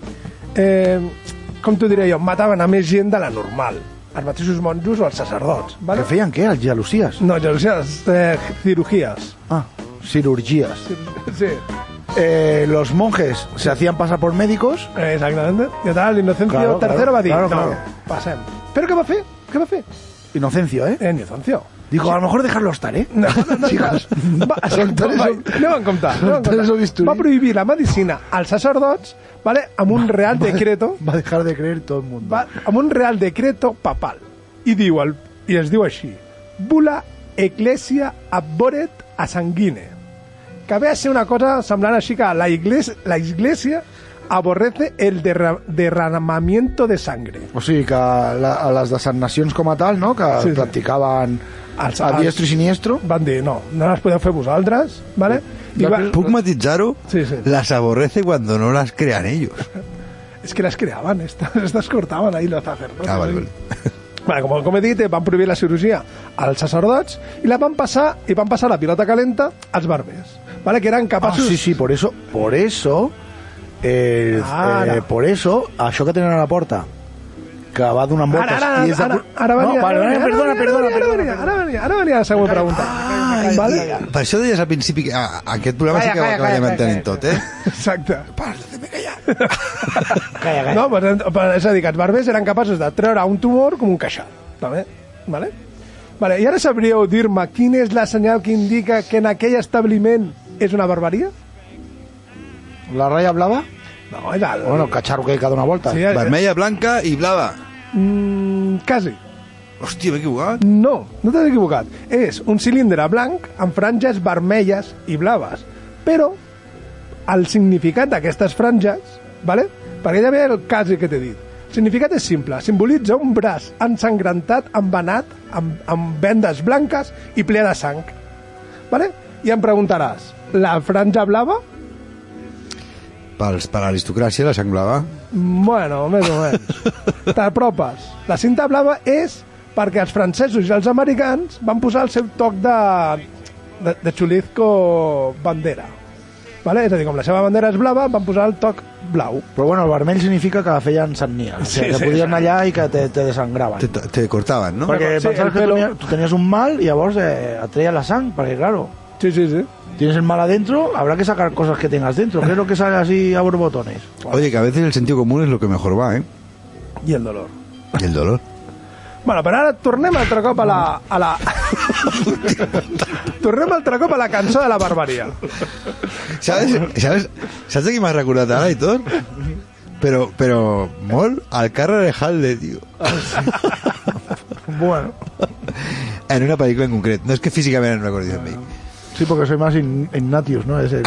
S6: eh, com t'ho diré jo, mataven a més gent de la normal. Els mateixos monjos o els sacerdots.
S7: Que
S6: Vale? Mm.
S7: feien què? Els gelosies?
S6: No, cirurgies, eh, cirurgies.
S7: Ah, cirurgies.
S6: Sí.
S7: eh, los monjes se hacían pasar por médicos.
S6: Exactamente. I tal, Inocencio
S7: Claro,
S6: III
S7: claro,
S6: va dir,
S7: claro,
S6: no,
S7: claro.
S6: passem. Però què va fer? Què va fer?
S7: Inocencio, ¿eh?
S6: En Inocencio.
S7: Dijo, a lo mejor dejarlo estar, ¿eh?
S6: No, no, no, Chicos, va,
S7: soltar
S6: va,
S7: eso-
S6: aneu en compte. aneu en
S7: soltar
S6: compte.
S7: eso bisturí.
S6: Va prohibir la medicina als sacerdots vale, amb un real decreto
S7: Va a dejar de creer todo el mundo.
S6: va, amb un real decreto papal i diu el, i es diu així Bula Ecclesia Abboret a Sanguine que ve a ser una cosa semblant així que la iglesia, la iglesia aborrece el derra derramamiento de sangre
S7: O sigui, que la, a les designacions com a tal, no?, que
S6: Sí, sí.
S7: practicaven
S6: Els-
S7: a diestro i siniestro.
S6: van dir no, no les podeu fer vosaltres vale? I va,
S8: ¿Puc matizarlo? Las aborrece cuando no las crean ellos.
S6: és que les creaven estas, [laughs] estas cortaven ahí los sacerdotes
S8: Ah, vale, vale.
S6: Bueno, com, com he dit, eh, van prohibir la cirurgia als sacerdots i la van passar i van passar la pilota calenta als barbers, vale? que eren
S7: Ah,
S6: capaços...
S7: sí, sí, por eso, por eso, eh,
S6: Ah, Ara.
S7: eh, por eso, això que tenen a la porta, que va donant voltes...
S6: Ara, ara, ara,
S7: i és de...
S6: ara,
S7: cu-
S6: ara venia,
S7: no, vale,
S6: ara
S7: vale,
S6: venia,
S7: perdona,
S6: ara
S7: perdona,
S6: venia, ara
S7: perdona.
S6: venia, ara venia, ara venia la següent pregunta. vale?
S8: Per això deies al principi que a, aquest programa
S6: Calla,
S8: sí que va
S6: calla,
S8: acabar
S6: calla,
S8: lamentant tot, eh?
S6: Exacte. No, però, però, és a dir, que els barbers eren capaços de treure un tumor com un caixal. Vale? Vale? Vale, I ara sabríeu dir-me quin és la senyal que indica que en aquell establiment és una barbaria?
S7: La ratlla blava?
S6: No, és el...
S7: Bueno, el catxarro que hi cada una volta.
S6: Sí, eh,
S8: Vermella, blanca i blava.
S6: Mm, quasi.
S8: Hòstia, m'he equivocat.
S6: No, no t'has equivocat. És un cilindre blanc amb franges vermelles i blaves. Però el significat d'aquestes franges, vale? perquè ja ve el cas que t'he dit, el significat és simple, simbolitza un braç ensangrentat, envenat, amb, amb vendes blanques i ple de sang. Vale? I em preguntaràs, la franja blava?
S8: Pels, per l'aristocràcia, la sang blava.
S6: Bueno, més o [laughs] menys. T'apropes. La cinta blava és perquè els francesos i els americans van posar el seu toc de, de, de xulizco bandera. Vale? És a dir, com la seva bandera és blava, van posar el toc blau.
S7: Però bueno, el vermell significa que la feien sagnia. O sigui,
S6: Sí,
S7: que
S6: sí,
S7: podien anar allà i que te, te desangraven.
S8: Te, te cortaven, no?
S7: Perquè
S6: Sí, el
S7: pensaves que
S6: pelo.
S7: tenia- tu tenies un mal i llavors eh, et treia la sang, perquè claro,
S6: Sí, sí, sí.
S7: tienes el mal adentro, habrá que sacar cosas que tengas dentro. ¿Qué es lo que sale así a borbotones?
S8: Oye, que a veces el sentido común es lo que mejor va, ¿eh?
S6: I el dolor.
S8: Y el dolor.
S6: Bueno, però ara tornem altre cop a la... A la... [laughs] tornem altre cop a la cançó de la barbaria.
S7: [laughs]
S8: ¿Sabes? ¿Sabes? ¿Sabes de qui m'has recordat ara i tot? Però, però, molt, al Carrer de Halde, tio.
S6: Bueno.
S8: En una pel·lícula en concret. No és que físicament no recordi de mi.
S7: Sí, porque soy más in- Ignatius, ¿no? Es el...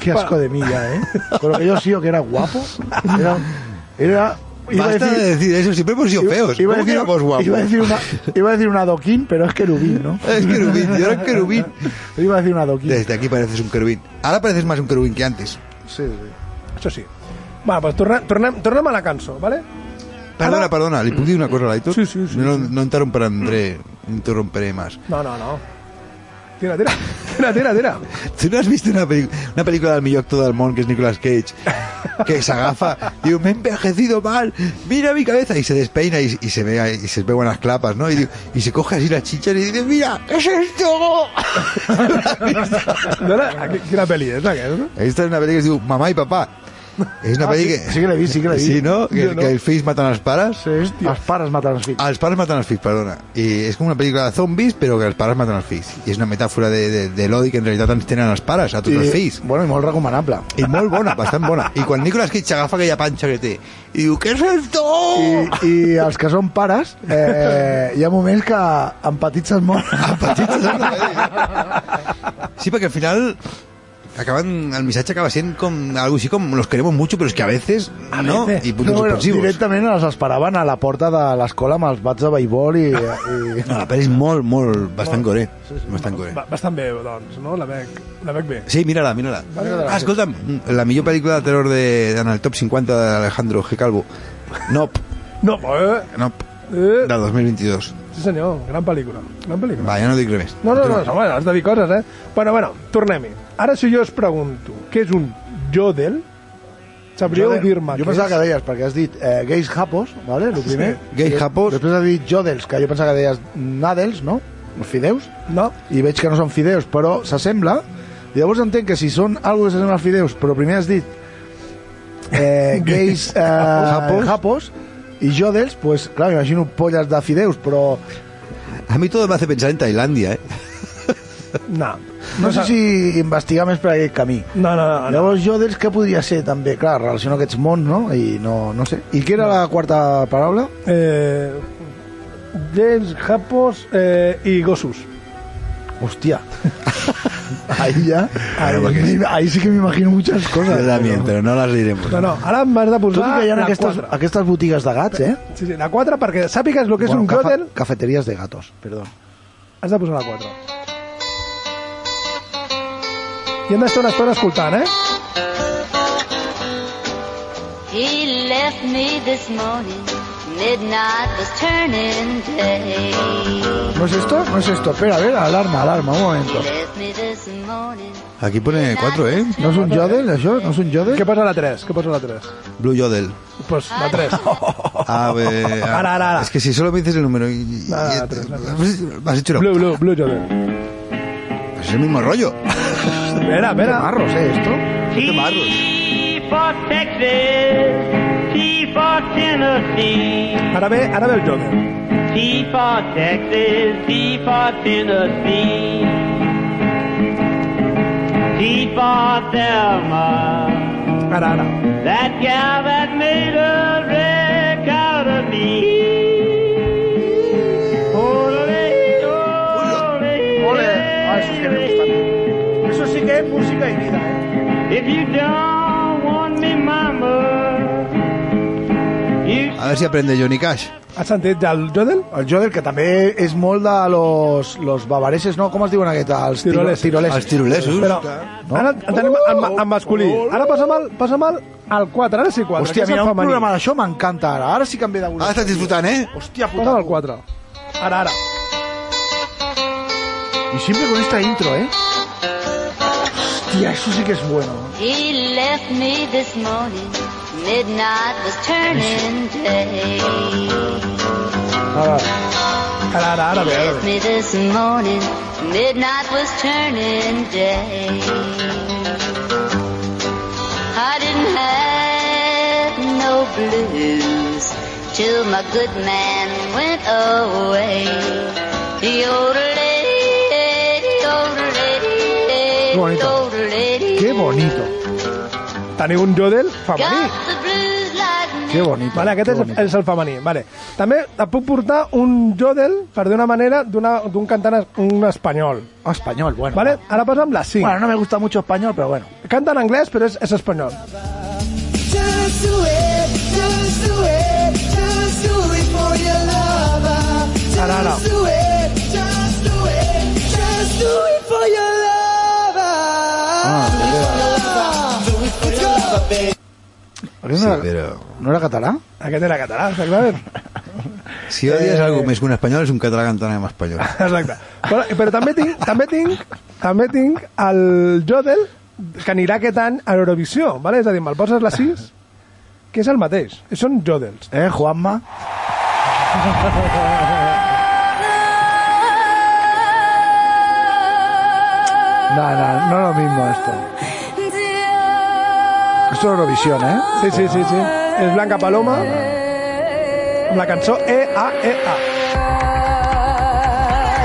S7: Qué asco de mí ya, ¿eh? Con lo que yo sigo que era guapo. Era... era iba a
S8: Basta de decir eso, siempre hemos sido
S7: iba-
S8: feos.
S7: Iba a
S8: ¿Cómo que
S7: decir,
S8: éramos guapos?
S7: iba a decir una, iba a decir una adoquín, pero es querubín, ¿no?
S8: [laughs] Es querubín, yo era querubín.
S7: Iba a decir una adoquín.
S8: Desde aquí pareces un querubín. Ahora pareces más un querubín que antes.
S7: Sí, sí.
S6: Això sí. Bueno, pues tornem, tornem, tornem a la cançó, ¿vale?
S8: Perdona, perdona, ¿le puedo decir una cosa a Laitor?
S6: Sí, sí, sí,
S8: No, no interromperé, interromperé más.
S6: No, no, no. Tira, tira, tira, tira, tira.
S8: ¿Tú no has visto una, peli- una película del millor actor del món, que es Nicolas Cage, que se
S7: [laughs]
S8: agafa, digo, me he envejecido mal, mira mi cabeza, y se despeina y, y se ve ahí- y se ve buenas clapas, ¿no? Y, digo- y se coge así las chichas y dice, mira, ¿qué
S7: [laughs]
S8: es esto?
S6: No era, aquí- ah, quina pel·li és aquesta?
S8: Esta es una película que digo, mamá y papá. Es una
S7: Ah,
S8: peli
S7: sí,
S8: que...
S7: sí que la vi, sí que la vi.
S8: Sí, ¿no? Que,
S7: Jo no.
S8: que els fills maten els pares. Ah,
S7: sí els pares maten els fills.
S8: Els pares maten els fills, perdona. I és com una pel·lícula de zombis, però que els pares maten els fills. I és una metàfora de, de, de l'odi que en realitat ens tenen els pares, a tots els fills.
S7: Bueno, i molt recomanable.
S8: I molt bona, bastant bona. I quan Nicolas Cage agafa aquella panxa que té i diu, què és esto?
S7: I, i els que són pares, eh, hi ha moments que empatitzes molt.
S8: [laughs] Sí, perquè al final acaben, el missatge acaba sent com algo així com los queremos mucho, pero es que a veces no, i puntos
S7: No, bueno,
S8: suspensivos.
S7: directament els esperaven a la porta de l'escola amb els bats de beisbol i... i...
S8: No, la pel·li és molt, molt, bastant gore. Bastant gore.
S6: Ba- Bastant bé, doncs, no? La veig, la veig bé.
S8: Sí, mírala, mírala.
S6: Mírala.
S8: Ah, escolta'm, la millor pel·lícula de terror de, en el top 50 d'Alejandro G. Calvo. Nope,
S6: No, eh,
S8: nope,
S6: eh,
S8: del 2022.
S6: sí senyor, gran pel·lícula, gran pel·lícula.
S8: Va, ja no dic res més.
S6: No, no, no, no, bueno, has de dir coses, eh? Bueno, bueno, tornem-hi. Ara si jo us pregunto què és un jodel, sabríeu dir-me
S7: Jo
S6: què
S7: pensava que
S6: és?
S7: deies, perquè has dit eh, gais japos, ¿vale? Lo primer.
S8: Sí. Gais japos.
S7: Després has dit jodels, que jo pensava que deies nadels, no? Els fideus.
S6: No,
S7: I veig que no són fideus, però s'assembla. Llavors entenc que si són algo que s'assembla als fideus, però primer has dit eh, gais eh, japos. japos i jo d'ells, pues, clar, imagino polles de fideus, però...
S8: A mi todo me hace pensar en Tailandia, eh?
S7: No. No sé si investigar més per aquest camí.
S6: No, no, no.
S7: Llavors jo d'ells què podria ser també? Clar, relaciono aquests mons, no? I no, no sé. I què era la quarta paraula?
S6: Eh, dels japos eh, i gossos.
S7: [laughs] Hòstia. ahí ja... Ahí,
S8: Claro, perquè-
S7: me- ahí sí que m'imagino muchas cosas.
S8: Yo también, pero no las diremos.
S6: No, no, ara m'has de
S7: Tot
S6: posar
S7: i que hi ha
S6: la
S7: aquestes,
S6: 4.
S7: aquestes botigues de gats, eh?
S6: Sí, sí, la 4 perquè sàpigues el que és
S7: Bueno,
S6: un
S7: cafe-
S6: còtel,
S7: Cafeterías de gatos, perdó.
S6: has de posar la 4. I hem d'estar una estona escoltant, eh?
S14: He left me this morning. Midnight was turning day.
S7: No es esto, no es esto. Espera, a ver, alarma, alarma, un momento.
S14: Left me this morning.
S8: Aquí pone cuatro, ¿eh?
S7: No és un jodel, això? No és un jodel?
S6: Què posa la 3? Què posa la 3?
S8: Blue Yodel.
S6: Pues la 3.
S7: Ah.
S6: [laughs]
S8: A ver, a-
S6: Ara, ara, ara.
S8: Es que si solo me dices el número y- y-
S6: Nada,
S8: y-
S6: la tres, la
S8: Has hecho una-
S6: Blue, blue, blue Jordan.
S8: Pues Es el mismo rollo.
S6: Espera, espera.
S7: Marros, eh, esto.
S20: for Texas, T for Tennessee.
S6: Ara ve, ara ve el Jordan.
S20: T for Texas, T for Tennessee. T for Thelma,
S6: Ara, ara.
S20: that gal that made a wreck out of me. Ole, ole,
S7: Ah, eso sí que me gusta. Eso sí que es música y vida, eh.
S20: If you don't want me, mama, you
S8: A ver si aprende Johnny Cash.
S6: Has sentit ja el Jodel?
S7: El jodel, que també és molt de los, los bavareses, no? Com es diuen aquests? Els tiro-
S6: Tirolesos.
S7: tirolesos.
S8: Els tirolesos.
S6: Però ara tenim en, ma- en masculí. Ara passa'm al, passa'm al, al 4, ara sí 4.
S7: Hòstia, mira, un programa d'això m'encanta ara. Ara sí que em ve de gust.
S8: Ah, estás disfrutando, ¿eh?
S7: Hòstia puta.
S6: Passa'm al 4. Ara, ara.
S7: Y siempre con esta intro, ¿eh? Hostia, eso sí que es bueno.
S14: He left me this morning. Midnight was turning day.
S6: Ara, ara, ara, ara ve, ara
S14: Left
S6: ve.
S14: me this morning. Midnight was turning day. I didn't have no blues till my good man went away. Qué
S7: Qué bonito. Qué bonito.
S6: Teniu un Jodel femení.
S14: Got the blues like
S7: Qué bonito.
S6: Vale, aquest
S7: qué
S6: és,
S7: bonito.
S6: és el femení. Vale. També et puc portar un Jodel, per d'una manera, d'una- d'un cantant es- un espanyol.
S7: Ah, español, bueno.
S6: Vale? Ara passa'm la 5.
S7: Bueno, no me gusta mucho español, pero bueno.
S6: Canta en anglès, però és, és espanyol.
S21: Just do it, just do it, just do it for your lover.
S6: Ara, ara.
S21: Just do it, just do it, just do it for your lover. Let's go.
S7: Aquest no, era, no era català?
S6: Aquest era català, exactament.
S8: Si odias
S6: Eh.
S8: algo más que un español, es un catalán cantando más español.
S6: Exacte. Però, però també tinc, també tinc, també tinc el Jodel que anirà aquest any a l'Eurovisió, vale? és a dir, me'l poses la 6, que és el mateix, són Jodels.
S7: Eh, Juanma? No, no, no lo mismo esto. Esto es Eurovisión, ¿eh?
S6: Sí, sí, sí, sí. És Blanca Paloma, amb la cançó E E-A-E-A.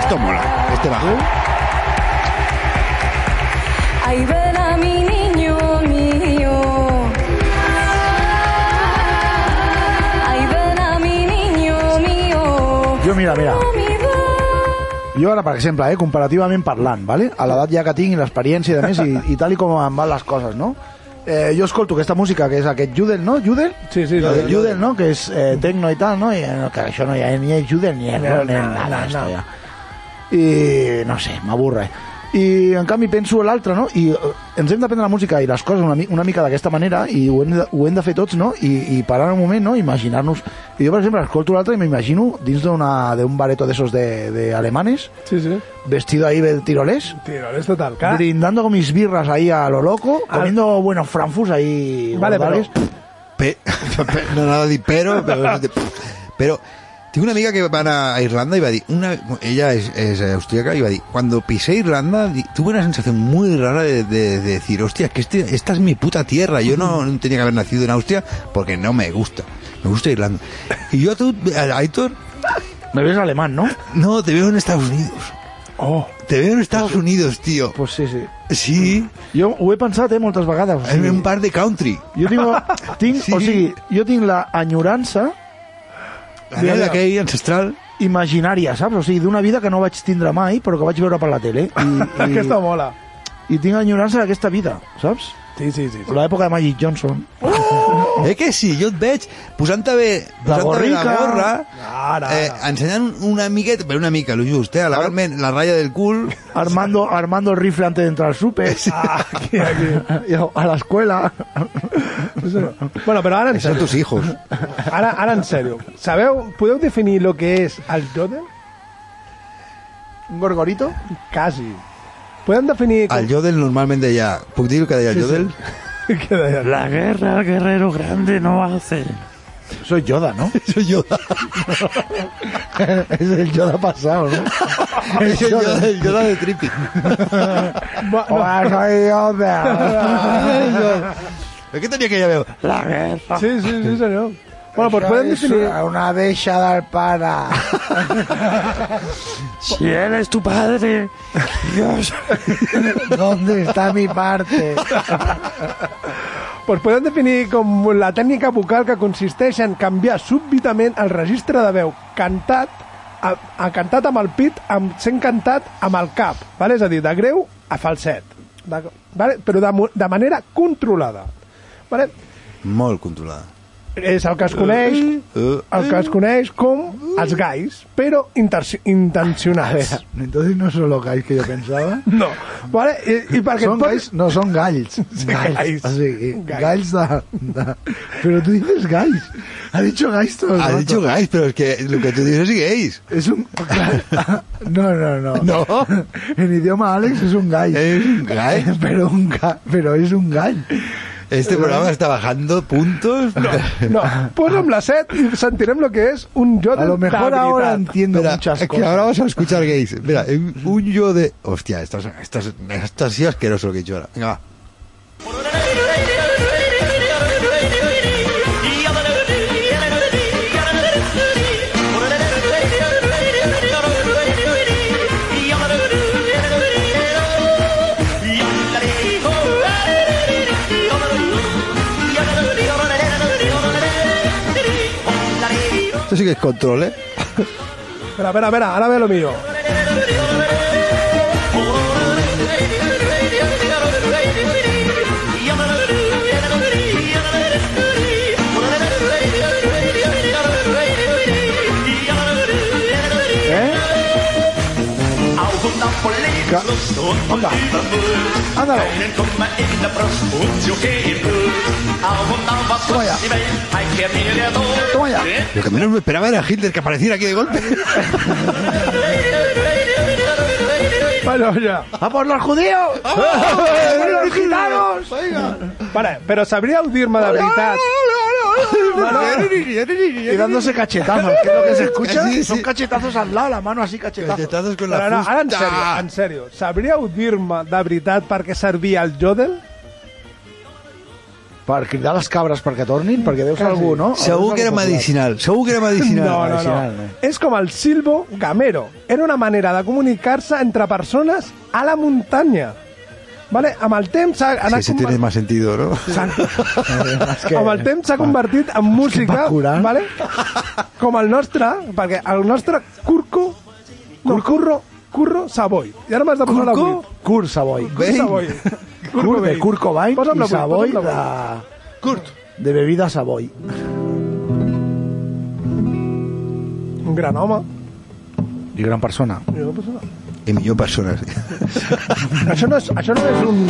S8: Esto mola, este bajo.
S21: Ahí ven a mi niño mío. Ahí ven a mi niño mío.
S7: Jo, mira, mira. Jo ara, per exemple, eh, comparativament parlant, vale? a l'edat ja que tinc i l'experiència i de més, i, i tal i com em van les coses, no? Eh, jo escolto aquesta música, que és aquest Judel, no? Judel?
S6: Sí, sí,
S7: Judel,
S6: Jodel.
S7: Judel no? Que és eh, tecno i tal, no? I, eh, no, que això no hi ha ni és Judel ni és
S6: No,
S7: no, ni és
S6: no,
S7: nada,
S6: no,
S7: esto
S6: no.
S7: ja. I no sé, m'avorre. I en canvi penso en l'altre, no? I eh, ens hem de prendre la música i les coses una, mi- una mica d'aquesta manera i ho hem, de, ho hem de fer tots, no? I, i parar un moment, no? Imaginar-nos... I jo, per exemple, escolto l'altre i m'imagino dins d'una- d'un bareto d'esos de, de alemanes,
S6: Sí, sí.
S7: vestido ahí del tirolés,
S6: Tiro, és total. Clar.
S7: brindando con mis birras ahí a lo loco,
S6: Al-
S7: comiendo buenos franfus ahí.
S6: Vale,
S8: [laughs]
S7: guardales.
S8: Pe- no, nada de pero, pero, pero Tengo una amiga que van a Irlanda y va a decir, una, ella es, es austríaca y va a decir, cuando pisé Irlanda di- tuve una sensación muy rara de, de- de decir, hostia, que este- esta es mi puta tierra, yo no, no tenía que haber nacido en Austria porque no me gusta, me gusta Irlanda. Y yo a tú, a- a Aitor...
S7: Me ves alemán, ¿no?
S8: No, te veo en Estados Unidos.
S7: Oh.
S8: Te veo en Estados Unidos, tío.
S7: Pues sí, sí.
S8: Sí.
S7: Jo ho he pensat, eh, moltes vegades. O
S8: sigui, un par de country.
S7: Jo [laughs] tinc, tinc sí. o sigui, jo tinc la enyorança...
S8: Anhel aquell ancestral.
S7: Imaginària, saps? O sigui, d'una vida que no vaig tindre mai, però que vaig veure per la [laughs] tele. I, i,
S6: Aquesta mola.
S7: I tinc enyorança d'aquesta vida, saps?
S6: Sí, sí, sí. sí.
S7: L'època de Magic Johnson.
S8: Eh que sí, jo et veig pues posant-te bé,
S7: La
S8: posant bé la
S7: gorrica.
S8: gorra, eh, ensenyant un- una miqueta, però una mica, lo just, eh, alargant la ratlla del [laughs] cul.
S7: Armando, Armando el rifle antes de entrar al súper.
S6: Ah,
S7: [laughs]
S6: aquí, aquí.
S7: Jo, A la escuela.
S6: Bueno, però ara en
S8: Son
S6: sèrio.
S8: tus hijos.
S6: Ara, ara en sèrio. Sabeu, podeu definir lo que és el jodel?
S7: Un gorgorito?
S6: Quasi. Podem definir...
S8: El Jodel normalment deia... Puc dir el que deia el Jodel?
S6: [laughs] Què deia?
S7: La guerra al guerrero grande no hace. Soy Yoda, ¿no?
S8: [laughs] Soy Yoda.
S7: [laughs] es el Yoda pasado, [laughs] ¿no?
S8: Es el Yoda, el Yoda de [laughs] Trippy.
S7: Ah. Hola, Oh, soy [laughs]
S6: Yoda.
S8: ¿Pero qué tenía que llamar?
S7: La guerra.
S6: Sí, sí, sí, senyor. Bueno, pues podem definir...
S7: Una deixada al para. si él es tu padre, Dios, [laughs] ¿dónde está mi parte?
S6: Pues podem definir com la tècnica vocal que consisteix en canviar súbitament el registre de veu cantat a, a cantat amb el pit, amb, sent cantat amb el cap, vale? és a dir, de greu a falset, de, vale? però de, mo- de manera controlada. Vale?
S8: Molt controlada.
S6: És el que es coneix,
S8: eh,
S6: el que es coneix com els gais, però inter- intencionats.
S7: Entonces no son los galls que yo pensaba.
S6: No, vale? I, i perquè
S7: Son
S6: et posis-
S7: galls, no, son Ah, galls. Galls.
S6: galls.
S7: O sigui,
S6: Galls.
S7: galls de, de- Pero tú dices galls. Ha dicho galls todo el
S8: Ha
S7: rato.
S8: dicho guys, pero es que lo que tú dices es gays.
S7: Es un... [laughs] No, no, no.
S8: [laughs] No.
S7: [laughs] En idioma Alex es un gall.
S8: Es un gay.
S7: [laughs] Pero, un ga- pero es un gall.
S8: Este programa está bajando puntos.
S6: No, posa'm la set i sentirem lo que és un jodel
S7: A lo mejor
S6: de
S7: ahora
S6: veritat.
S7: entiendo
S8: Mira,
S7: muchas
S8: es que
S7: cosas.
S8: ahora vamos a escuchar gays. Mira, [laughs] un yo de... Hostia, esto, es- esto, es- esto ha sido asqueroso lo que he hecho ahora. Venga, va. Esto sí que es control, ¿eh?
S6: Espera, espera, espera, ara ve lo millor.
S7: ¿Eh?
S5: Onda.
S7: Ándalo.
S5: Toma ya.
S7: Toma ya.
S8: Lo que menos me esperaba era Hitler que apareciera aquí de golpe.
S6: Bueno, ja.
S7: ¡A por los judíos! ¡A por los gitanos!
S6: Para, però sabríeu dir-me de veritat...
S7: Y dándose cachetazos. ¿Qué es lo que se escucha?
S8: Sí, sí.
S7: Son cachetazos al lado, la mano así cachetazos.
S8: Cachetazos con
S6: Però
S8: la
S6: ara, ara en sèrio,
S8: fusta.
S6: en sèrio, sabríeu dir-me de veritat per què servia el jodel?
S7: Per cridar les cabres perquè tornin, perquè deus algú, no?
S8: Segur que era medicinal. Segur que era medicinal.
S6: No, no, no. És com el silbo gamero. Era una manera de comunicar-se entre persones a la muntanya. Vale? Amb el temps s'ha
S8: Sí,
S6: anat...
S8: sí, tiene más sentido, ¿no?
S6: S'ha-
S7: Eh, que-
S6: amb el temps s'ha convertit en música,
S7: va curant.
S6: vale? com el nostre, perquè el nostre curco, no, curro, curro Savoy. I ara m'has de posar la buit.
S7: Kurt Savoy.
S6: Curro Savoy.
S7: Kurt de Kurt Cobain
S6: Posa'm la
S7: i
S6: buit,
S7: Savoy
S6: posa'm
S7: de...
S6: la
S7: Kurt. De bebida Savoy.
S6: buit. Un gran home.
S7: I gran persona.
S6: I una persona.
S8: Y millón personas.
S6: Això no és, això no és un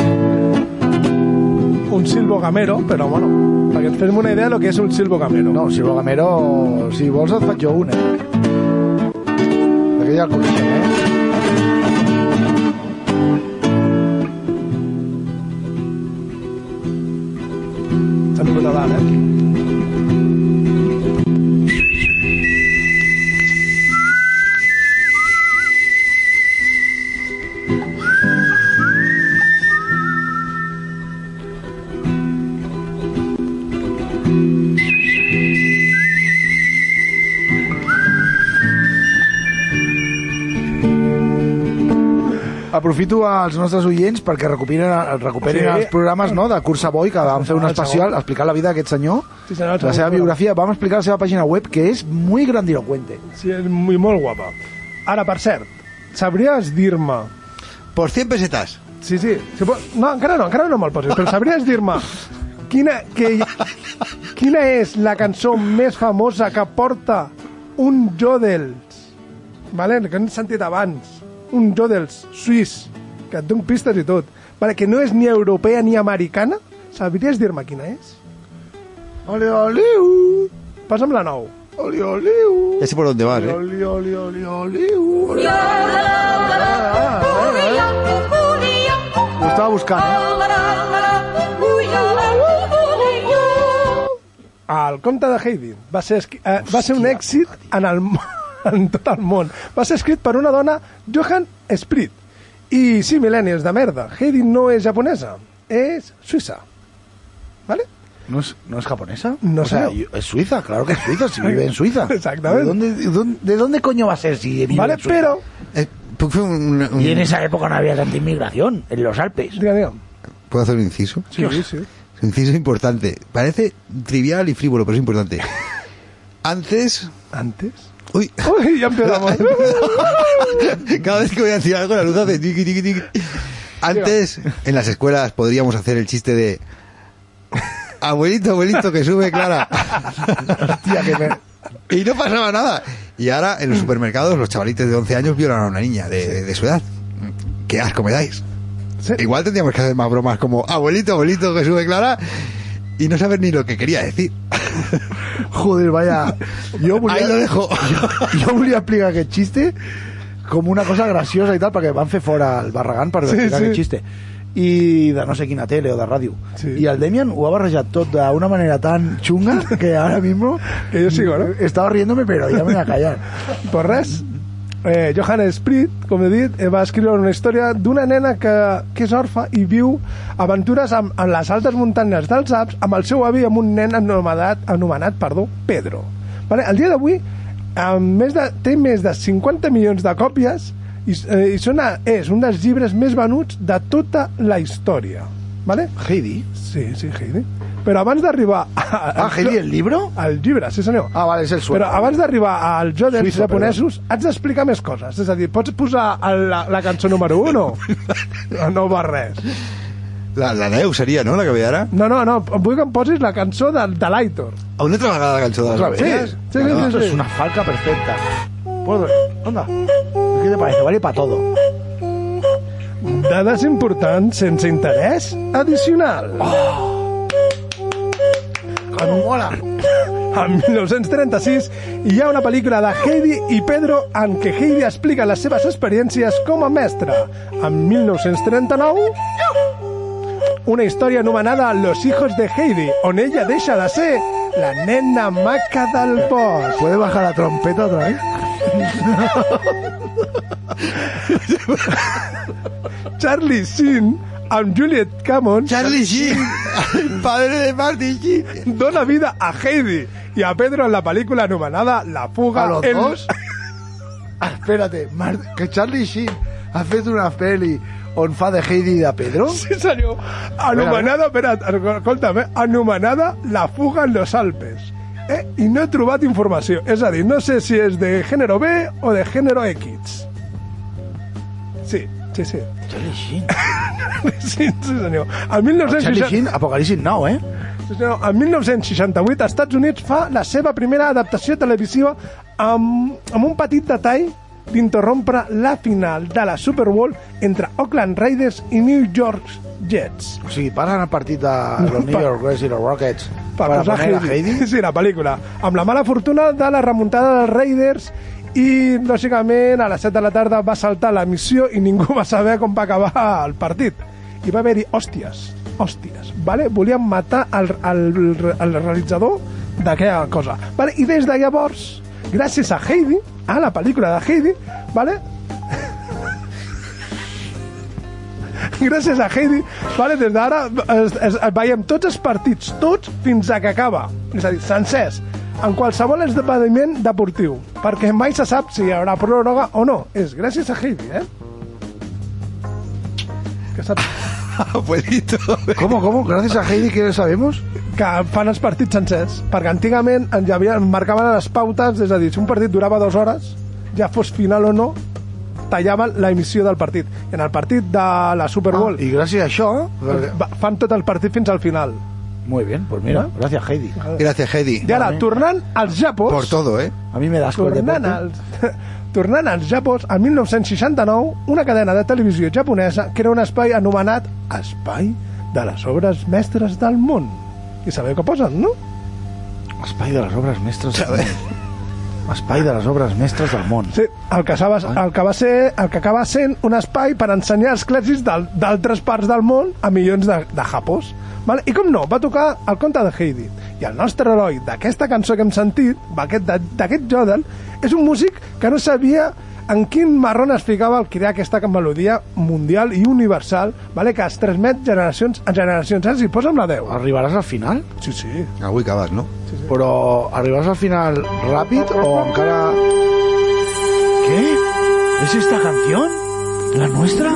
S6: un silbo gamero, però bueno, perquè ens fem una idea de lo que és un silbo gamero.
S7: No, si vol Gamero, si vols et faig jo un, eh? Aquell ja el coneixem, eh?
S6: S'ha vingut a dalt, eh?
S7: Aprofito als nostres oients perquè recuperin, recuperin
S6: Sí.
S7: sí. els programes no, de Cursa Boi, que vam fer un
S6: senyor, el
S7: especial
S6: segon.
S7: explicant la vida d'aquest senyor,
S6: Sí, senyor, el
S7: la seva
S6: segon programa.
S7: biografia, vam explicar la seva pàgina web, que és muy grandilocuente.
S6: Sí, és muy, molt guapa. Ara, per cert, sabries dir-me...
S8: Por 100 pesetas.
S6: Sí, sí. Si po- No, encara no, encara no me'l posis, però sabries dir-me quina, que, quina és la cançó més famosa que porta un Jodels, vale? que hem sentit abans, un Jodels suís, que et dono pistes i tot, vale? que no és ni europea ni americana, sabries dir-me quina és?
S7: Ole, ole, u.
S6: Passa'm la nou.
S7: Oli, oli, u.
S8: Ya sé por dónde vas, ¿eh?
S7: Oli, oli, oli, oli, u. Oli, Ho estava buscant, eh?
S6: El comte de Haydn va ser, esqui- eh, va ser un èxit en, el, mo- [laughs] en tot el món. Va ser escrit per una dona, Johan Sprit. I sí, mil·lennials de merda, Haydn no és japonesa, és suïssa. ¿Vale?
S7: ¿No es, ¿No es japonesa?
S6: No
S7: o sea,
S6: señor.
S7: yo- es Suiza, claro que es Suiza, si vive en [laughs] Suiza.
S6: Exactamente.
S7: ¿De dónde, de dónde- de dónde coño va a ser si vive
S6: Vale,
S7: en Suiza?
S6: pero-
S8: Eh, pues fue un- un-
S7: Y en esa época no había tanta inmigración, en los Alpes.
S6: Diga, diga.
S8: ¿Puedo hacer un inciso?
S6: Sí, sí.
S8: Un inciso importante. Parece trivial y frívolo, pero es importante. Antes...
S6: ¿Antes?
S8: Uy,
S6: Uy, ya [laughs] empezamos.
S8: [laughs] cada vez que voy a decir algo la luz hace... tiqui, tiqui, tiqui. Antes, en las escuelas podríamos hacer el chiste de... Abuelito, abuelito, que sube Clara. Y no pasaba nada. Y ahora en los supermercados los chavalites de 11 años violan a una niña de, de- de su edad. Qué asco me dais. Igual tendríamos que hacer más bromas como abuelito, abuelito que sube Clara y no saber ni lo que quería decir.
S7: Joder, vaya. Yo volia,
S8: Ahí lo dejo.
S7: Yo, yo volia explicar aquest xiste com una cosa graciosa i tal, perquè van fer fora el Barragán per
S6: Sí,
S7: sí, explicar
S6: sí.
S7: sí. aquest xiste. I de no sé quina tele o de ràdio. Sí. I el Demian ho ha barrejat tot d'una manera tan xunga que ara mismo...
S6: Que yo sigo, ¿no?
S7: Estaba riéndome, pero ya me voy a callar.
S6: Pues res, eh, Johan Sprit, com he dit, eh, va escriure una història d'una nena que, que és orfa i viu aventures amb, amb les altes muntanyes dels Alps amb el seu avi i amb un nen anomenat, anomenat perdó, Pedro. Vale? El dia d'avui amb més de, té més de 50 milions de còpies i, eh, i són, a- és un dels llibres més venuts de tota la història. Vale?
S7: Heidi?
S6: Sí, sí, Heidi. Però abans d'arribar... Ah,
S7: Heidi, el llibre?
S6: El llibre, sí senyor.
S7: Ah, vale, és el suec.
S6: Però abans d'arribar als jodels
S7: Suïssa,
S6: japonesos, has d'explicar més coses. És a dir, pots posar el- la, la cançó número 1 no? No va res.
S8: La, la Deu sería, ¿no? La que veía ahora.
S6: No, no, no, vull que em posis la cançó de, de l'Aitor.
S8: ¿Aún no trabajaba la canción de las
S7: Otra vez.
S8: abuelas?
S6: Sí, sí, sí,
S7: Esto
S6: sí.
S7: es una falca perfecta. Puedo- Onda. ¿Qué te parece? Vale para todo.
S6: Dades importants sense interès addicional. Oh.
S7: Com
S6: [laughs]
S7: mola!
S6: En 1936 hi ha una pel·lícula de Heidi i Pedro en què Heidi explica les seves experiències com a mestra. En 1939, una història anomenada Los hijos de Heidi, on ella deixa de ser la nena maca del bosc.
S7: ¿Puede bajar la trompeta otra vez?
S6: [laughs] Charlie Sheen amb Juliet Cameron
S8: Charlie Sheen, el padre de Martin Sheen.
S6: dona vida a Heidi i a Pedro en la pel·lícula anomenada La fuga
S7: ¿A los
S6: en-
S7: dos? Ah, Espérate, Mar- que Charlie Sheen ha fet una peli on fa de Heidi i de Pedro?
S6: [laughs] Sí, senyor. Anomenada, espera't, escolta'm, eh? anomenada La fuga en los Alpes. Eh? I no he trobat informació. És a dir, no sé si és de gènere B o de gènere X. Sí, sí, [laughs] sí.
S7: Charlie Sheen.
S6: Sí, sí senyor. El
S7: Charlie
S6: 1960...
S7: Sheen, Apocalipsis Now, eh?
S6: Sí, senyor. El 1968, als Estats Units fa la seva primera adaptació televisiva amb, amb un petit detall d'interrompre la final de la Super Bowl entre Oakland Raiders i New York Jets.
S7: O sigui, paren el partit de [laughs] los New
S6: pa-
S7: York Reds i los Rockets
S6: per
S7: per
S6: posar
S7: poner a
S6: Heidi.
S7: Heidi?
S6: Sí, la pel·lícula. Amb la mala fortuna de la remuntada dels Raiders i, lògicament, a les 7 de la tarda va saltar la missió i ningú va saber com va acabar el partit. I va haver-hi hòsties, hòsties, vale? Volien matar el, el, el realitzador d'aquella cosa. Vale? I des de llavors, gràcies a Heidi, a la pel·lícula de Heidi, vale? [laughs] gràcies a Heidi, vale, des d'ara es, es, es, veiem tots els partits, tots fins a que acaba, és a dir, sencers, en qualsevol esdeveniment deportiu, perquè mai se sap si hi haurà pròrroga o no. És gràcies a Heidi, eh? que sap...
S8: Abuelito.
S7: Com, com? Gràcies a Heidi, que sabemos?
S6: Que fan els partits sencers. Perquè antigament en hi havia, marcaven les pautes, és a dir, si un partit durava dues hores, ja fos final o no, tallaven la emissió del partit. I en el partit de la Super Bowl...
S7: Ah, I gràcies a això...
S6: va- Fan tot el partit fins al final.
S7: Muy bien, pues mira, gracias Heidi.
S8: Gracias, Heidi.
S6: I ara, tornant als Japos...
S8: Por todo, ¿eh?
S7: A mi me das asco el
S6: Tornant
S7: deporte.
S6: als, [laughs] tornant als Japos, al 1969, una cadena de televisió japonesa crea un espai anomenat Espai de les Obres Mestres del Món. I sabeu què posen, no?
S7: Espai de les obres mestres del món. Espai de les obres mestres del món.
S6: Sí, el que, sabes, el que, va ser, el que acaba sent un espai per ensenyar els clàssics del- d'altres parts del món a milions de, de japos. Vale? I com no, va tocar el conte de Heidi. I el nostre heroi d'aquesta cançó que hem sentit, d'aquest d'aquest Jordan, és un músic que no sabia en quin marron es ficava al crear aquesta melodia mundial i universal vale? que es transmet generacions en generacions. Ara s'hi posa amb la 10.
S7: Arribaràs al final?
S6: Sí, sí.
S8: Avui acabas, ¿no?
S7: Però arribaràs al final ràpid o encara... Què? ¿Es esta canción? ¿La nuestra?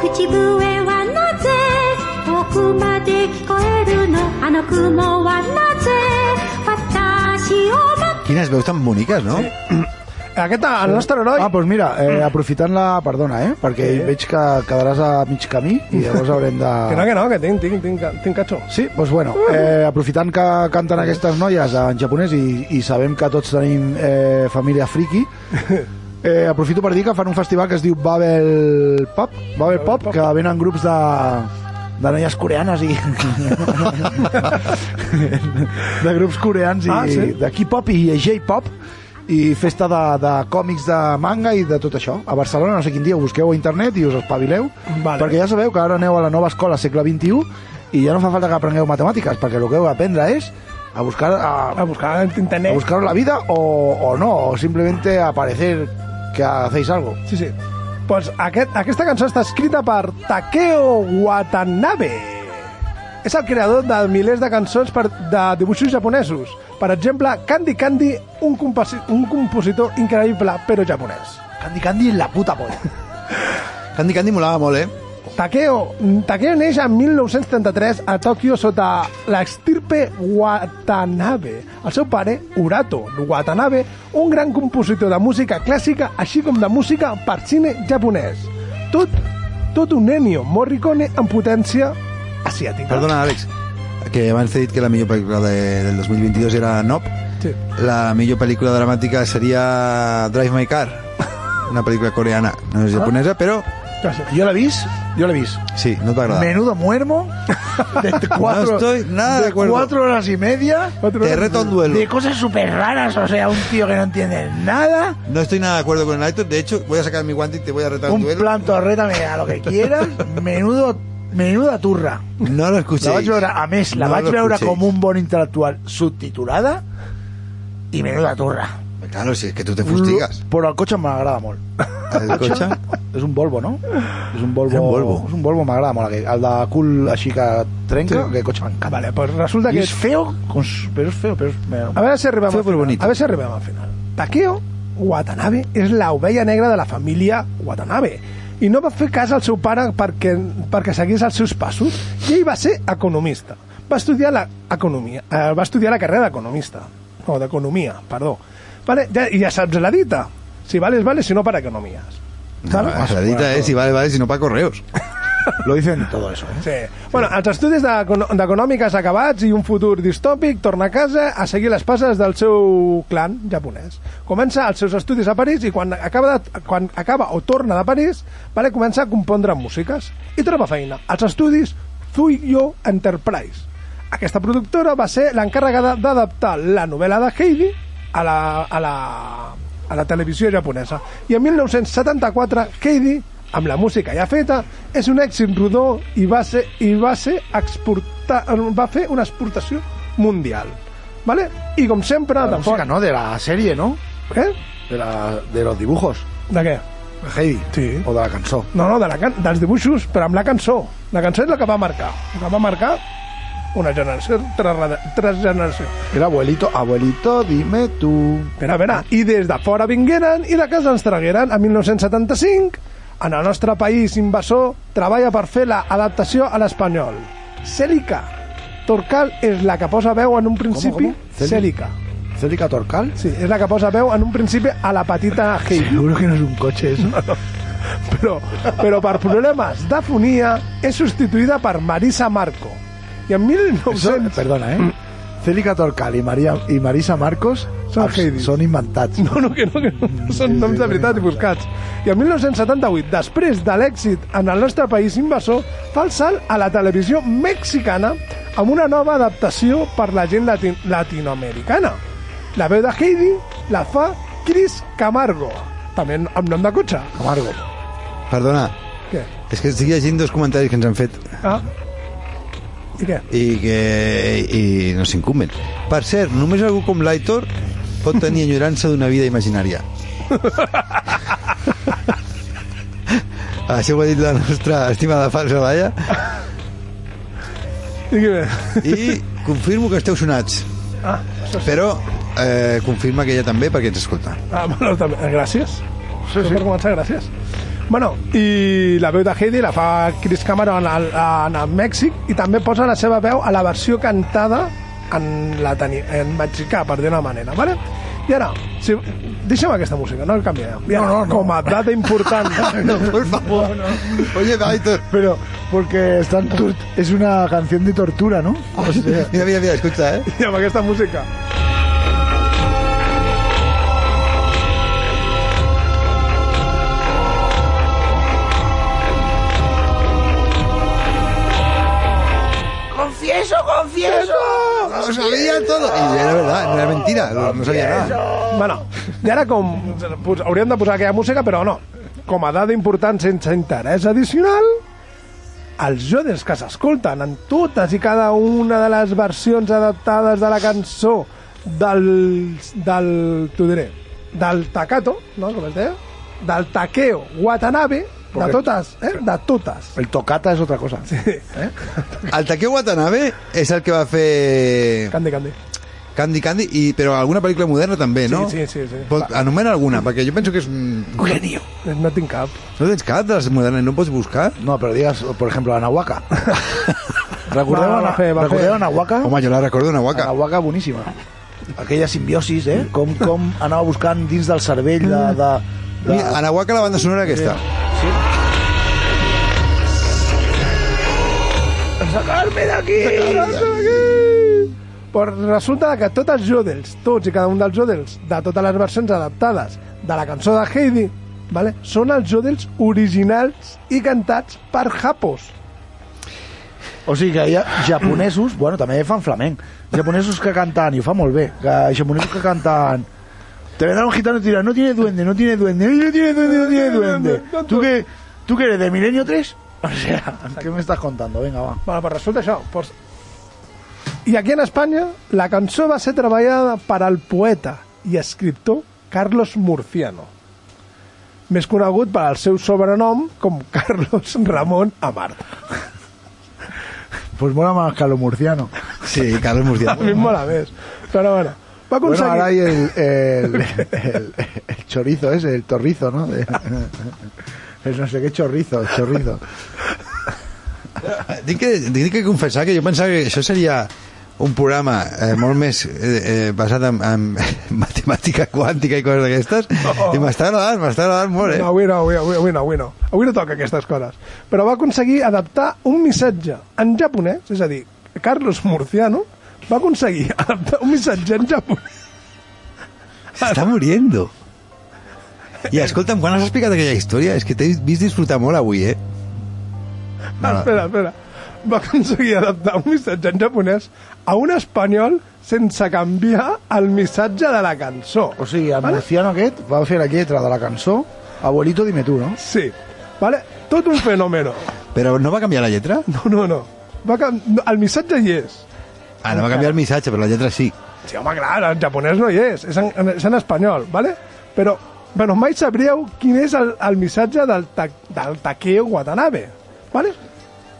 S22: 口笛はなぜ遠くまで聞こえるのあの雲はなぜ私を待っ
S8: Quines veus tan boniques, no?
S6: Aquest, el nostre heroi...
S7: Ah, doncs mira, eh, aprofitant la... Perdona, eh? Perquè
S6: Sí.
S7: veig que quedaràs a mig camí i llavors haurem de...
S6: Que no, que no, que tinc, tinc, tinc, tinc catxó.
S7: Sí, doncs bueno,
S6: Ah.
S7: eh, aprofitant que canten aquestes noies en japonès i, i sabem que tots tenim eh, família
S6: [laughs]
S7: friki, eh, aprofito per dir que fan un festival que es diu Babel Pop, Babel Pop, que venen grups de, de noies coreanes
S6: [laughs]
S7: i... de grups coreans i
S6: Ah, sí?
S7: de K-pop i J-pop i festa de, de còmics de manga i de tot això. A Barcelona, no sé quin dia, ho busqueu a internet i us espavileu,
S6: Vale.
S7: perquè ja sabeu que ara aneu a la nova escola segle XXI i ja no fa falta que aprengueu matemàtiques, perquè el que heu d'aprendre és a buscar, a,
S6: A buscar en internet.
S7: a buscar la vida o, o no, o simplemente a parecer que hacéis algo.
S6: Sí, sí. Pues aquest, aquesta cançó està escrita per Takeo Watanabe. És el creador de milers de cançons per, de dibuixos japonesos. Per exemple, Candy Candy, un, compasi, un compositor increïble, però japonès.
S7: Candy Candy la puta polla.
S8: Candy Candy molava molt, eh?
S6: Takeo, Takeo neix en 1933 a Tòquio sota l'extirpe Watanabe. El seu pare, Urato Watanabe, un gran compositor de música clàssica, així com de música per cine japonès. Tot, tot un Ennio Morricone en potència asiàtica.
S8: Perdona, Àlex, que abans t'he dit que la millor pel·lícula de, del 2022 era Nop.
S6: Sí.
S8: La millor pel·lícula dramàtica seria Drive My Car, una pel·lícula coreana. No
S7: Ah.
S8: és japonesa, però
S7: Jo l'he vist, jo l'he vist.
S8: sí, no et va agradar.
S7: Menudo muermo de cuatro,
S8: [laughs] No estoy nada de acuerdo.
S7: cuatro horas y media
S8: Te reto a un duelo.
S7: de cosas súper raras, o sea, un tío que no entiende nada,
S8: No estoy nada de acuerdo con el Aitor. De hecho, voy a sacar mi guante y te voy a retar un
S7: un
S8: duelo.
S7: plan torreta a lo que quieras, menudo, menuda turra.
S8: No lo
S7: La vaig
S8: escuchéis.
S7: veure, a més, la
S8: No
S7: vaig
S8: lo
S7: veure
S8: escuchéis.
S7: com un bon intel·lectual subtitulada i menuda turra.
S8: Claro, si es que tú te fustigas.
S7: Però el cotxe m'agrada molt.
S8: El cotxe...
S7: És un Volvo, no? És un Volvo.
S8: Era un Volvo.
S7: És un Volvo, m'agrada molt. aquell. El de cul així que trenca, sí. que cotxe m'encanta.
S6: Vale, pues resulta
S7: I
S6: que...
S7: és feo, com s- però és feo, però és... me-
S6: A veure si arribem
S8: Fue
S6: al
S8: por
S6: final.
S8: bonito.
S6: A veure si arribem al final. Takeo Watanabe és la ovella negra de la família Watanabe i no va fer cas al seu pare perquè, perquè seguís els seus passos i ell va ser economista. Va estudiar la, economia, eh, va estudiar la carrera d'economista, o d'economia, perdó. Vale, ja, i ja saps la dita. Si vales, vales, si no, para economías.
S8: No, la dita es si vale, vale, si no para correos.
S7: Lo dicen todo eso, eh?
S6: Sí. Bueno, els estudis d'econo- d'econòmiques acabats i un futur distòpic, torna a casa a seguir les passes del seu clan japonès. Comença els seus estudis a París i quan acaba, de, quan acaba o torna de París, vale, comença a compondre músiques i troba feina. Els estudis Zuyo Enterprise. Aquesta productora va ser l'encarregada d'adaptar la novel·la de Heidi a la, a la, a la televisió japonesa. I en 1974, Heidi, amb la música ja feta, és un èxit rodó i va ser, i va ser exportar, va fer una exportació mundial. Vale? I com sempre...
S7: La
S6: de
S7: música, no? De la sèrie, no?
S6: Eh?
S7: De, la, de los dibujos.
S6: De què?
S7: De Heidi.
S6: Sí.
S7: O de la cançó.
S6: No, no, de la can dels dibuixos, però amb la cançó. La cançó és la que va marcar. La que va marcar Una generació tras, la- tras generació.
S7: Era abuelito, abuelito, dime tú.
S6: Espera, espera. I des de fora vingueren i de casa ens tragueren a 1975. En el nostre país invasor treballa per fer la adaptació a l'espanyol. Cèlica. Torcal és la que posa veu en un principi...
S7: com? Celi-
S6: Cèlica.
S7: ¿Célica Torcal?
S6: Sí, és la que posa veu en un principi a la petita Heidi.
S7: Seguro que no es un coche eso.
S6: però, però per problemes de fonia és substituïda per Marisa Marco. I en 1900...
S7: Perdona, ¿eh? Célica Torcal y, María, y Marisa Marcos
S6: Son
S7: abs-
S6: Heidi.
S7: son inventats.
S6: [laughs] No, no, que no, que no. Són noms de veritat i buscats. I en 1978, després de l'èxit en el nostre país invasor, fa el salt a la televisió mexicana amb una nova adaptació per la gent latin latinoamericana. La veu de Heidi la fa Chris Camargo, també amb nom de cotxe.
S7: Camargo.
S8: Perdona,
S6: Què?
S8: és que estic llegint dos comentaris que ens han fet
S6: Ah? I què?
S8: i que i no s'incumben. Per cert, només algú com l'Aitor pot tenir enyorança d'una vida imaginària. Això ho ha dit la nostra estimada falsa Laia.
S6: I què?
S8: I confirmo que esteu sonats.
S6: Ah,
S8: Però eh, confirma que ella també perquè ens escolta.
S6: Ah, [laughs] bueno, també, eh, gràcies. Sí, sí. Per començar, gràcies. Bueno, i la veu de Heidi la fa Chris Cameron al, a, a Mèxic i també posa la seva veu a la versió cantada en, la teni, en mexicà, per dir una manera, vale? I ara, si, deixa'm aquesta música, no el canviarem. I ara, no, no, no. com a data important... [laughs]
S8: no, por favor. Oye, Aitor.
S7: Pero, porque están tur- es una canción de tortura, ¿no? Pues, O sea,
S8: Mira, mira, mira, escucha, eh?
S6: I amb aquesta música...
S21: Confieso, confieso.
S8: Ah, Lo sabía todo. Y era verdad, no era mentira, no, no sabía nada.
S6: Bueno, i ara com... pos- Hauríem de posar aquella música, però no. Com a dada important sense interès addicional, els jodes que s'escolten en totes i cada una de les versions adaptades de la cançó del... del... t'ho diré... del Takato, no? Com es deia? Del Takeo Watanabe, de
S7: Correcte.
S6: totes, eh? De totes.
S7: el tocata es otra cosa.
S8: El Takeo Watanabe és el que va fer
S6: Candy, candy.
S8: Candy Candy, i, però alguna pel·lícula moderna també, no?
S6: Sí, sí, sí. sí.
S8: Pot, anomena alguna, perquè jo penso que és... Genio.
S6: No tinc cap.
S8: No tens cap de les modernes, no pots buscar?
S7: No, pero digas, por ejemplo, Anahuaca. ¿Recordeu
S8: Ah,
S6: Va, va
S7: Ana-
S6: fer, va
S7: recordeu
S6: fer.
S7: Anahuaca?
S8: Home, jo la recordo una guaca.
S7: Anahuaca boníssima. Aquella simbiosis, eh? Com, com anava buscant dins del cervell de... de, de...
S8: Mira, Anahuaca, la banda sonora aquesta.
S6: ¡Sacarme de aquí! Pues resulta que tots els jodels, tots i cada un dels jodels, de totes les versions adaptades de la cançó de Heidi, vale? són els jodels originals i cantats per japos.
S7: O sigui que hi ha japonesos, [clears throat] bueno, també fan flamenc, japonesos que canten, i ho fa molt bé, que japonesos que canten... Te vendrá un gitano y te dirá, no tiene duende, no tiene duende, no tiene duende, no tiene duende. ¿Tú qué, ¿Tú qué eres, de Milenio 3? [laughs] O sea, ¿qué me estás contando? Venga, va.
S6: Bueno, pues resulta això. Pues... I aquí en Espanya, la cançó va ser treballada per al poeta i escriptor Carlos Murciano, més conegut per al seu sobrenom com [laughs] Carlos Ramon Amart.
S7: Pues mola más Carlos Murciano.
S8: Sí,
S6: A
S8: Carlos
S6: mi em
S8: Murciano.
S6: mola més. Però bueno, va
S7: Bueno,
S6: aconseguir...
S7: ahora hay el, el, el- el chorizo ese, el torrizo, ¿no? De- el no sé qué chorizo, el chorizo.
S8: Tinc que, tinc que confessar que jo pensava que això seria un programa eh, molt més eh, eh, basat en, en [laughs] matemàtica quàntica i coses d'aquestes i m'està agradant, m'està agradant molt, eh?
S6: No, avui no, avui, avui, avui no, avui no. Avui no toca aquestes coses. Però va aconseguir adaptar un missatge en japonès, és a dir, Carlos Murciano va aconseguir [laughs] adaptar un missatge en japonès.
S8: S'està muriendo. I escolta'm, quan has explicat aquella història? És que t'he vist disfrutar molt avui, eh?
S6: Ah, espera, espera. Va aconseguir adaptar un missatge en japonès a un espanyol sense canviar el missatge de la cançó.
S7: O sigui, el murciano aquest va fer la lletra de la cançó Abuelito, dime tú, no?
S6: Sí, vale? tot un fenòmeno.
S8: Però no va canviar la lletra?
S6: No, no, no. Va can... no, El missatge hi és.
S8: Ah, no va canviar el missatge, però la lletra sí.
S6: Sí, home, clar, en japonès no hi és, és en, en, és en espanyol, ¿vale? Però, bueno, mai sabríeu quin és el, el missatge del, ta, del Takeo Watanabe, ¿vale?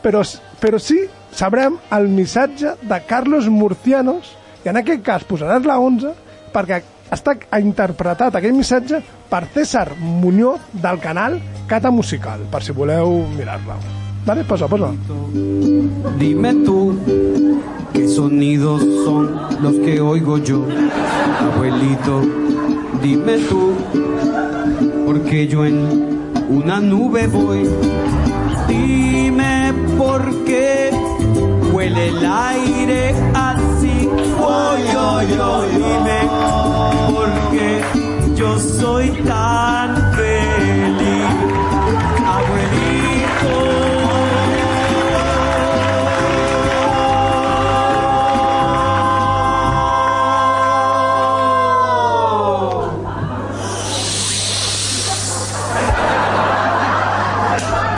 S6: però, però sí sabrem el missatge de Carlos Murcianos i en aquest cas posaràs la 11 perquè està interpretat aquell missatge per César Muñoz del canal Cata Musical, per si voleu mirar-la. Vale, posa, posa.
S1: Dime tú qué sonidos son los que oigo yo, abuelito. Dime tú, porque yo en una nube voy. Dime por qué huele el aire así. Oy, oy, oy. Dime por qué yo soy tan feliz, abuelito.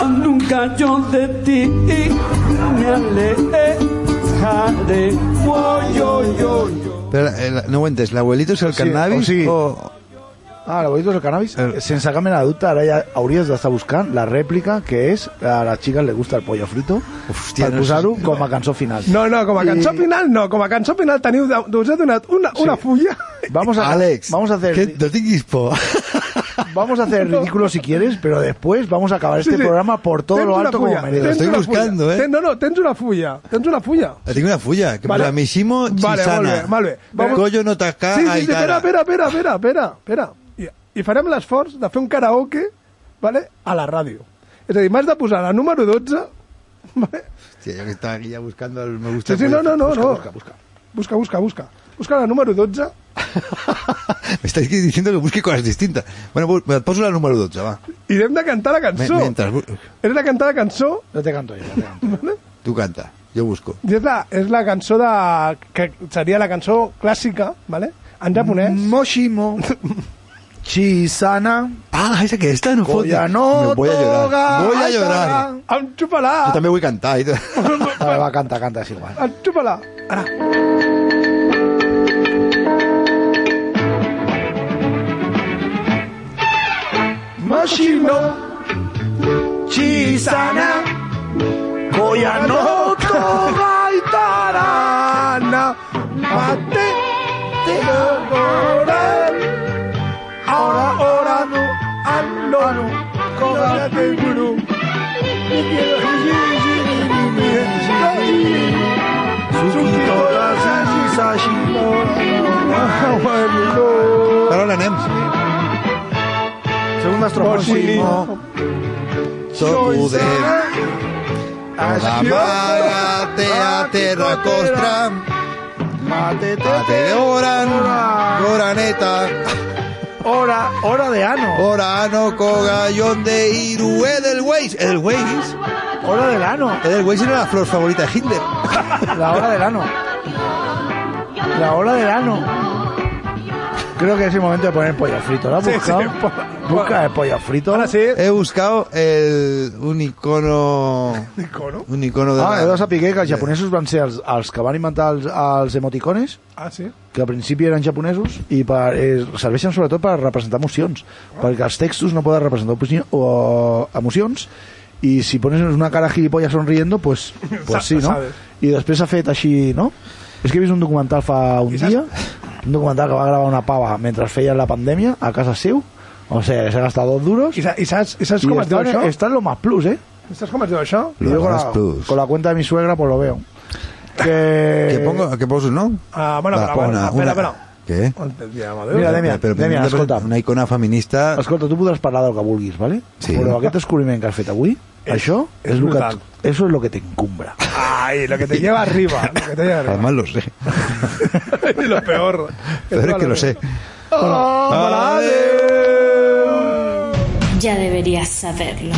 S1: Ah, Nunca yo de ti me alejaré. Voy, yo, yo, yo.
S8: Però, eh, la- no ho entes, l'abuelito és el cannabis?
S7: Sí, o sigui,
S8: o...
S7: Ah, l'abuelito és el cannabis? Sense cap mena de dubte, ara ja hauries d'estar buscant la rèplica que és a les xiques le gusta el pollo frito Hòstia, per
S6: no
S7: posar-ho com a cançó final.
S6: No, no, com a cançó final no, com a cançó final teniu, us he donat una, una fulla.
S7: Vamos a,
S8: Àlex,
S7: vamos a hacer...
S8: que no tinguis [laughs] por.
S7: Vamos a
S8: [laughs]
S7: hacer el ridículo si quieres, pero después vamos a acabar
S6: Sí,
S7: este
S6: sí.
S7: programa por todo
S6: Tens
S7: lo
S6: una
S7: alto como
S6: fulla,
S7: merece.
S6: tens una fulla. Ten- no, no, tens una fulla, tens una fulla.
S8: Tinc una fulla, ¿eh? que
S6: Vale.
S8: vale. Mishimo
S6: Vale,
S8: Chisana.
S6: molt bé, molt bé. Vamos-
S8: Collo no taca
S6: Sí, sí, sí, espera, espera, espera, espera, espera, espera. I, I farem l'esforç de fer un karaoke vale, a la ràdio. És a dir, m'has de posar la número [laughs] 12...
S8: Hòstia, jo que estava aquí ja buscant el me
S6: Sí,
S8: gusta.
S6: sí, no, no, no. no. Busca, busca, busca. Busca, busca, busca. la número 12.
S8: [laughs] Me estáis diciendo que busque cosas distintas. Bueno, pues, me poso la número 12, va.
S6: I hem de cantar la cançó.
S8: Me- mientras bu-
S6: És de cantar la cançó...
S7: No te canto jo.
S8: Tú canta, yo busco.
S6: I és la, és la cançó de... que seria la cançó clàssica, vale? en japonès.
S7: Moshimo. [laughs] Chisana.
S8: Ah, és aquesta, no
S7: fotis.
S8: Me voy a llorar. Voy a llorar.
S6: Em xupa-la.
S8: Yo también voy a cantar. [laughs] y todo.
S7: Vale, va, canta, canta, és igual.
S6: Em xupa-la. Ara.
S7: Mashino Chisana Koya no Togaitarana Mate Te Oran Ahora Ahora no Ano no Kogate Guru Sukito Sashi Sashi
S8: Però ara anem.
S7: Segunda estrofa.
S8: Moshimo. Sokude. Amaga, te
S6: Ah,
S8: aterra costra.
S7: Mate
S8: Te oran. Oraneta.
S7: Hora, hora de ano.
S8: Orano, cogallón de Iru, Edelweiss. Edelweiss.
S7: Hora del ano.
S8: Edelweiss era la flor favorita de
S6: [laughs]
S8: Hitler.
S7: La hora del ano. La hora del ano. Creo que es el momento de poner el pollo frito. ¿Lo has
S6: Sí,
S7: buscado?
S6: [laughs] sí,
S7: Busca el pollo frito. Ahora
S6: sí.
S8: He buscado el, un icono. ¿Un
S6: icono?
S8: Un icono de.
S7: Ah,
S8: la-
S7: heu de saber que els japonesos van ser els, els que van inventar els, els emoticones
S6: Ah, sí?
S7: que al principi eren japonesos i per, eh, serveixen sobretot per representar emocions perquè els textos no poden representar opinió, o, emocions i si pones una cara gilipollas sonriendo pues, pues sí, no?
S6: Sabes.
S7: i després s'ha fet així, no? és que he vist un documental fa un dia un documental que va gravar una pava mentre feia la pandèmia a casa seu o sigui, s'ha gastat dos duros
S6: I, sa- i saps, i saps com es diu
S7: està en-
S6: això?
S7: Està en lo más plus, eh?
S6: Saps com es diu això?
S7: Y yo con la, con la cuenta de mi suegra pues lo veo que,
S8: Que pongo, que poso, ¿no?
S6: Ah, bueno,
S8: Va,
S6: però,
S8: pon
S6: bueno,
S8: una-
S6: espera,
S8: una-
S6: espera.
S8: ¿Qué?
S6: On et diem, adéu?
S7: Mira, Demian,
S8: Però primer
S7: Demian,
S8: hem de
S7: escolta.
S8: presentar Una icona feminista.
S7: Escolta, tu podràs parlar del que vulguis, ¿vale?
S8: Sí.
S7: Però aquest descobriment que has fet avui, això és,
S6: és
S7: lo que,
S6: brutal.
S7: eso es lo que t'encumbra.
S6: Ai, lo que te lleva arriba. Lo que te lleva
S8: [laughs]
S6: arriba. [laughs]
S8: Además lo sé.
S6: y lo peor.
S8: Pero es que lo sé.
S6: Ah, Eh,
S23: Ya deberías saberlo.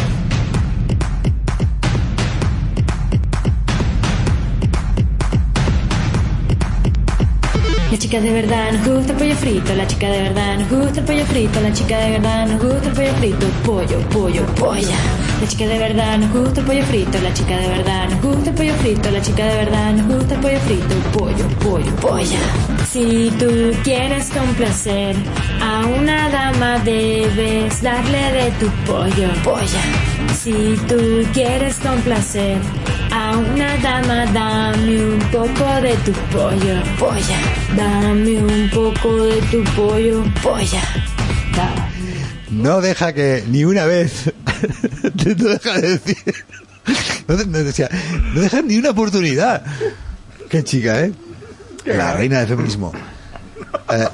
S23: La chica de verdad nos gusta el pollo frito, la chica de verdad nos gusta el pollo frito, la chica de verdad nos gusta el pollo frito, pollo, pollo, polla. La chica de verdad nos gusta el pollo frito, la chica de verdad nos gusta el pollo frito, la chica de verdad nos gusta el pollo frito, pollo, pollo, polla. Si tú quieres complacer a una dama debes darle de tu pollo, polla. Si tú quieres complacer a una dama, dame un poco de tu pollo, polla. Dame un poco de tu pollo, polla. Da-
S8: No deja que ni una vez. [laughs] no deja de decir. No, de- no, o sea, no deja ni una oportunidad. Qué chica, ¿eh? La reina del feminismo. Eh,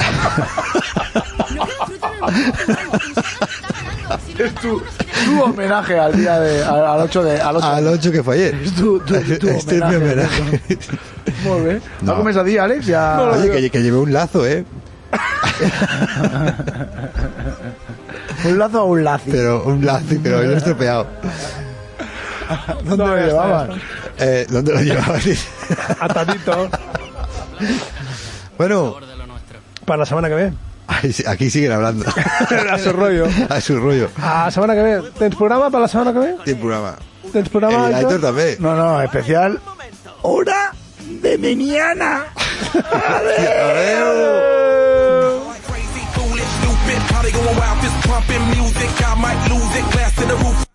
S7: Es tu, tu homenaje al día de, al, al 8 de... Al 8,
S8: al 8 que fallé. este es mi homenaje.
S7: Molt bé.
S8: No.
S7: Algo més a dir, Àlex? Ja...
S8: [laughs] Oye, que, que llevé un lazo, ¿eh?
S7: ¿Un lazo o un lazo?
S8: Pero un lazo, pero lo he estropeado.
S7: ¿Dónde lo llevaban?
S8: Eh, ¿Dónde lo llevaban?
S6: A Tatito.
S8: [laughs] bueno,
S6: Para la semana que [laughs] ve.
S8: ahí sí- aquí siguen hablando. [laughs]
S6: A su rollo.
S8: A su rollo.
S6: A la semana que ve. ¿Tens programa para la semana que ve?
S8: Tiene programa.
S6: ¿Tens programa?
S8: El
S6: Aitor?
S8: Aitor también.
S7: No, no, especial... Hora de meniana.
S2: Stupid, how they going wild, fist pumping music. I might lose it, glass to the roof.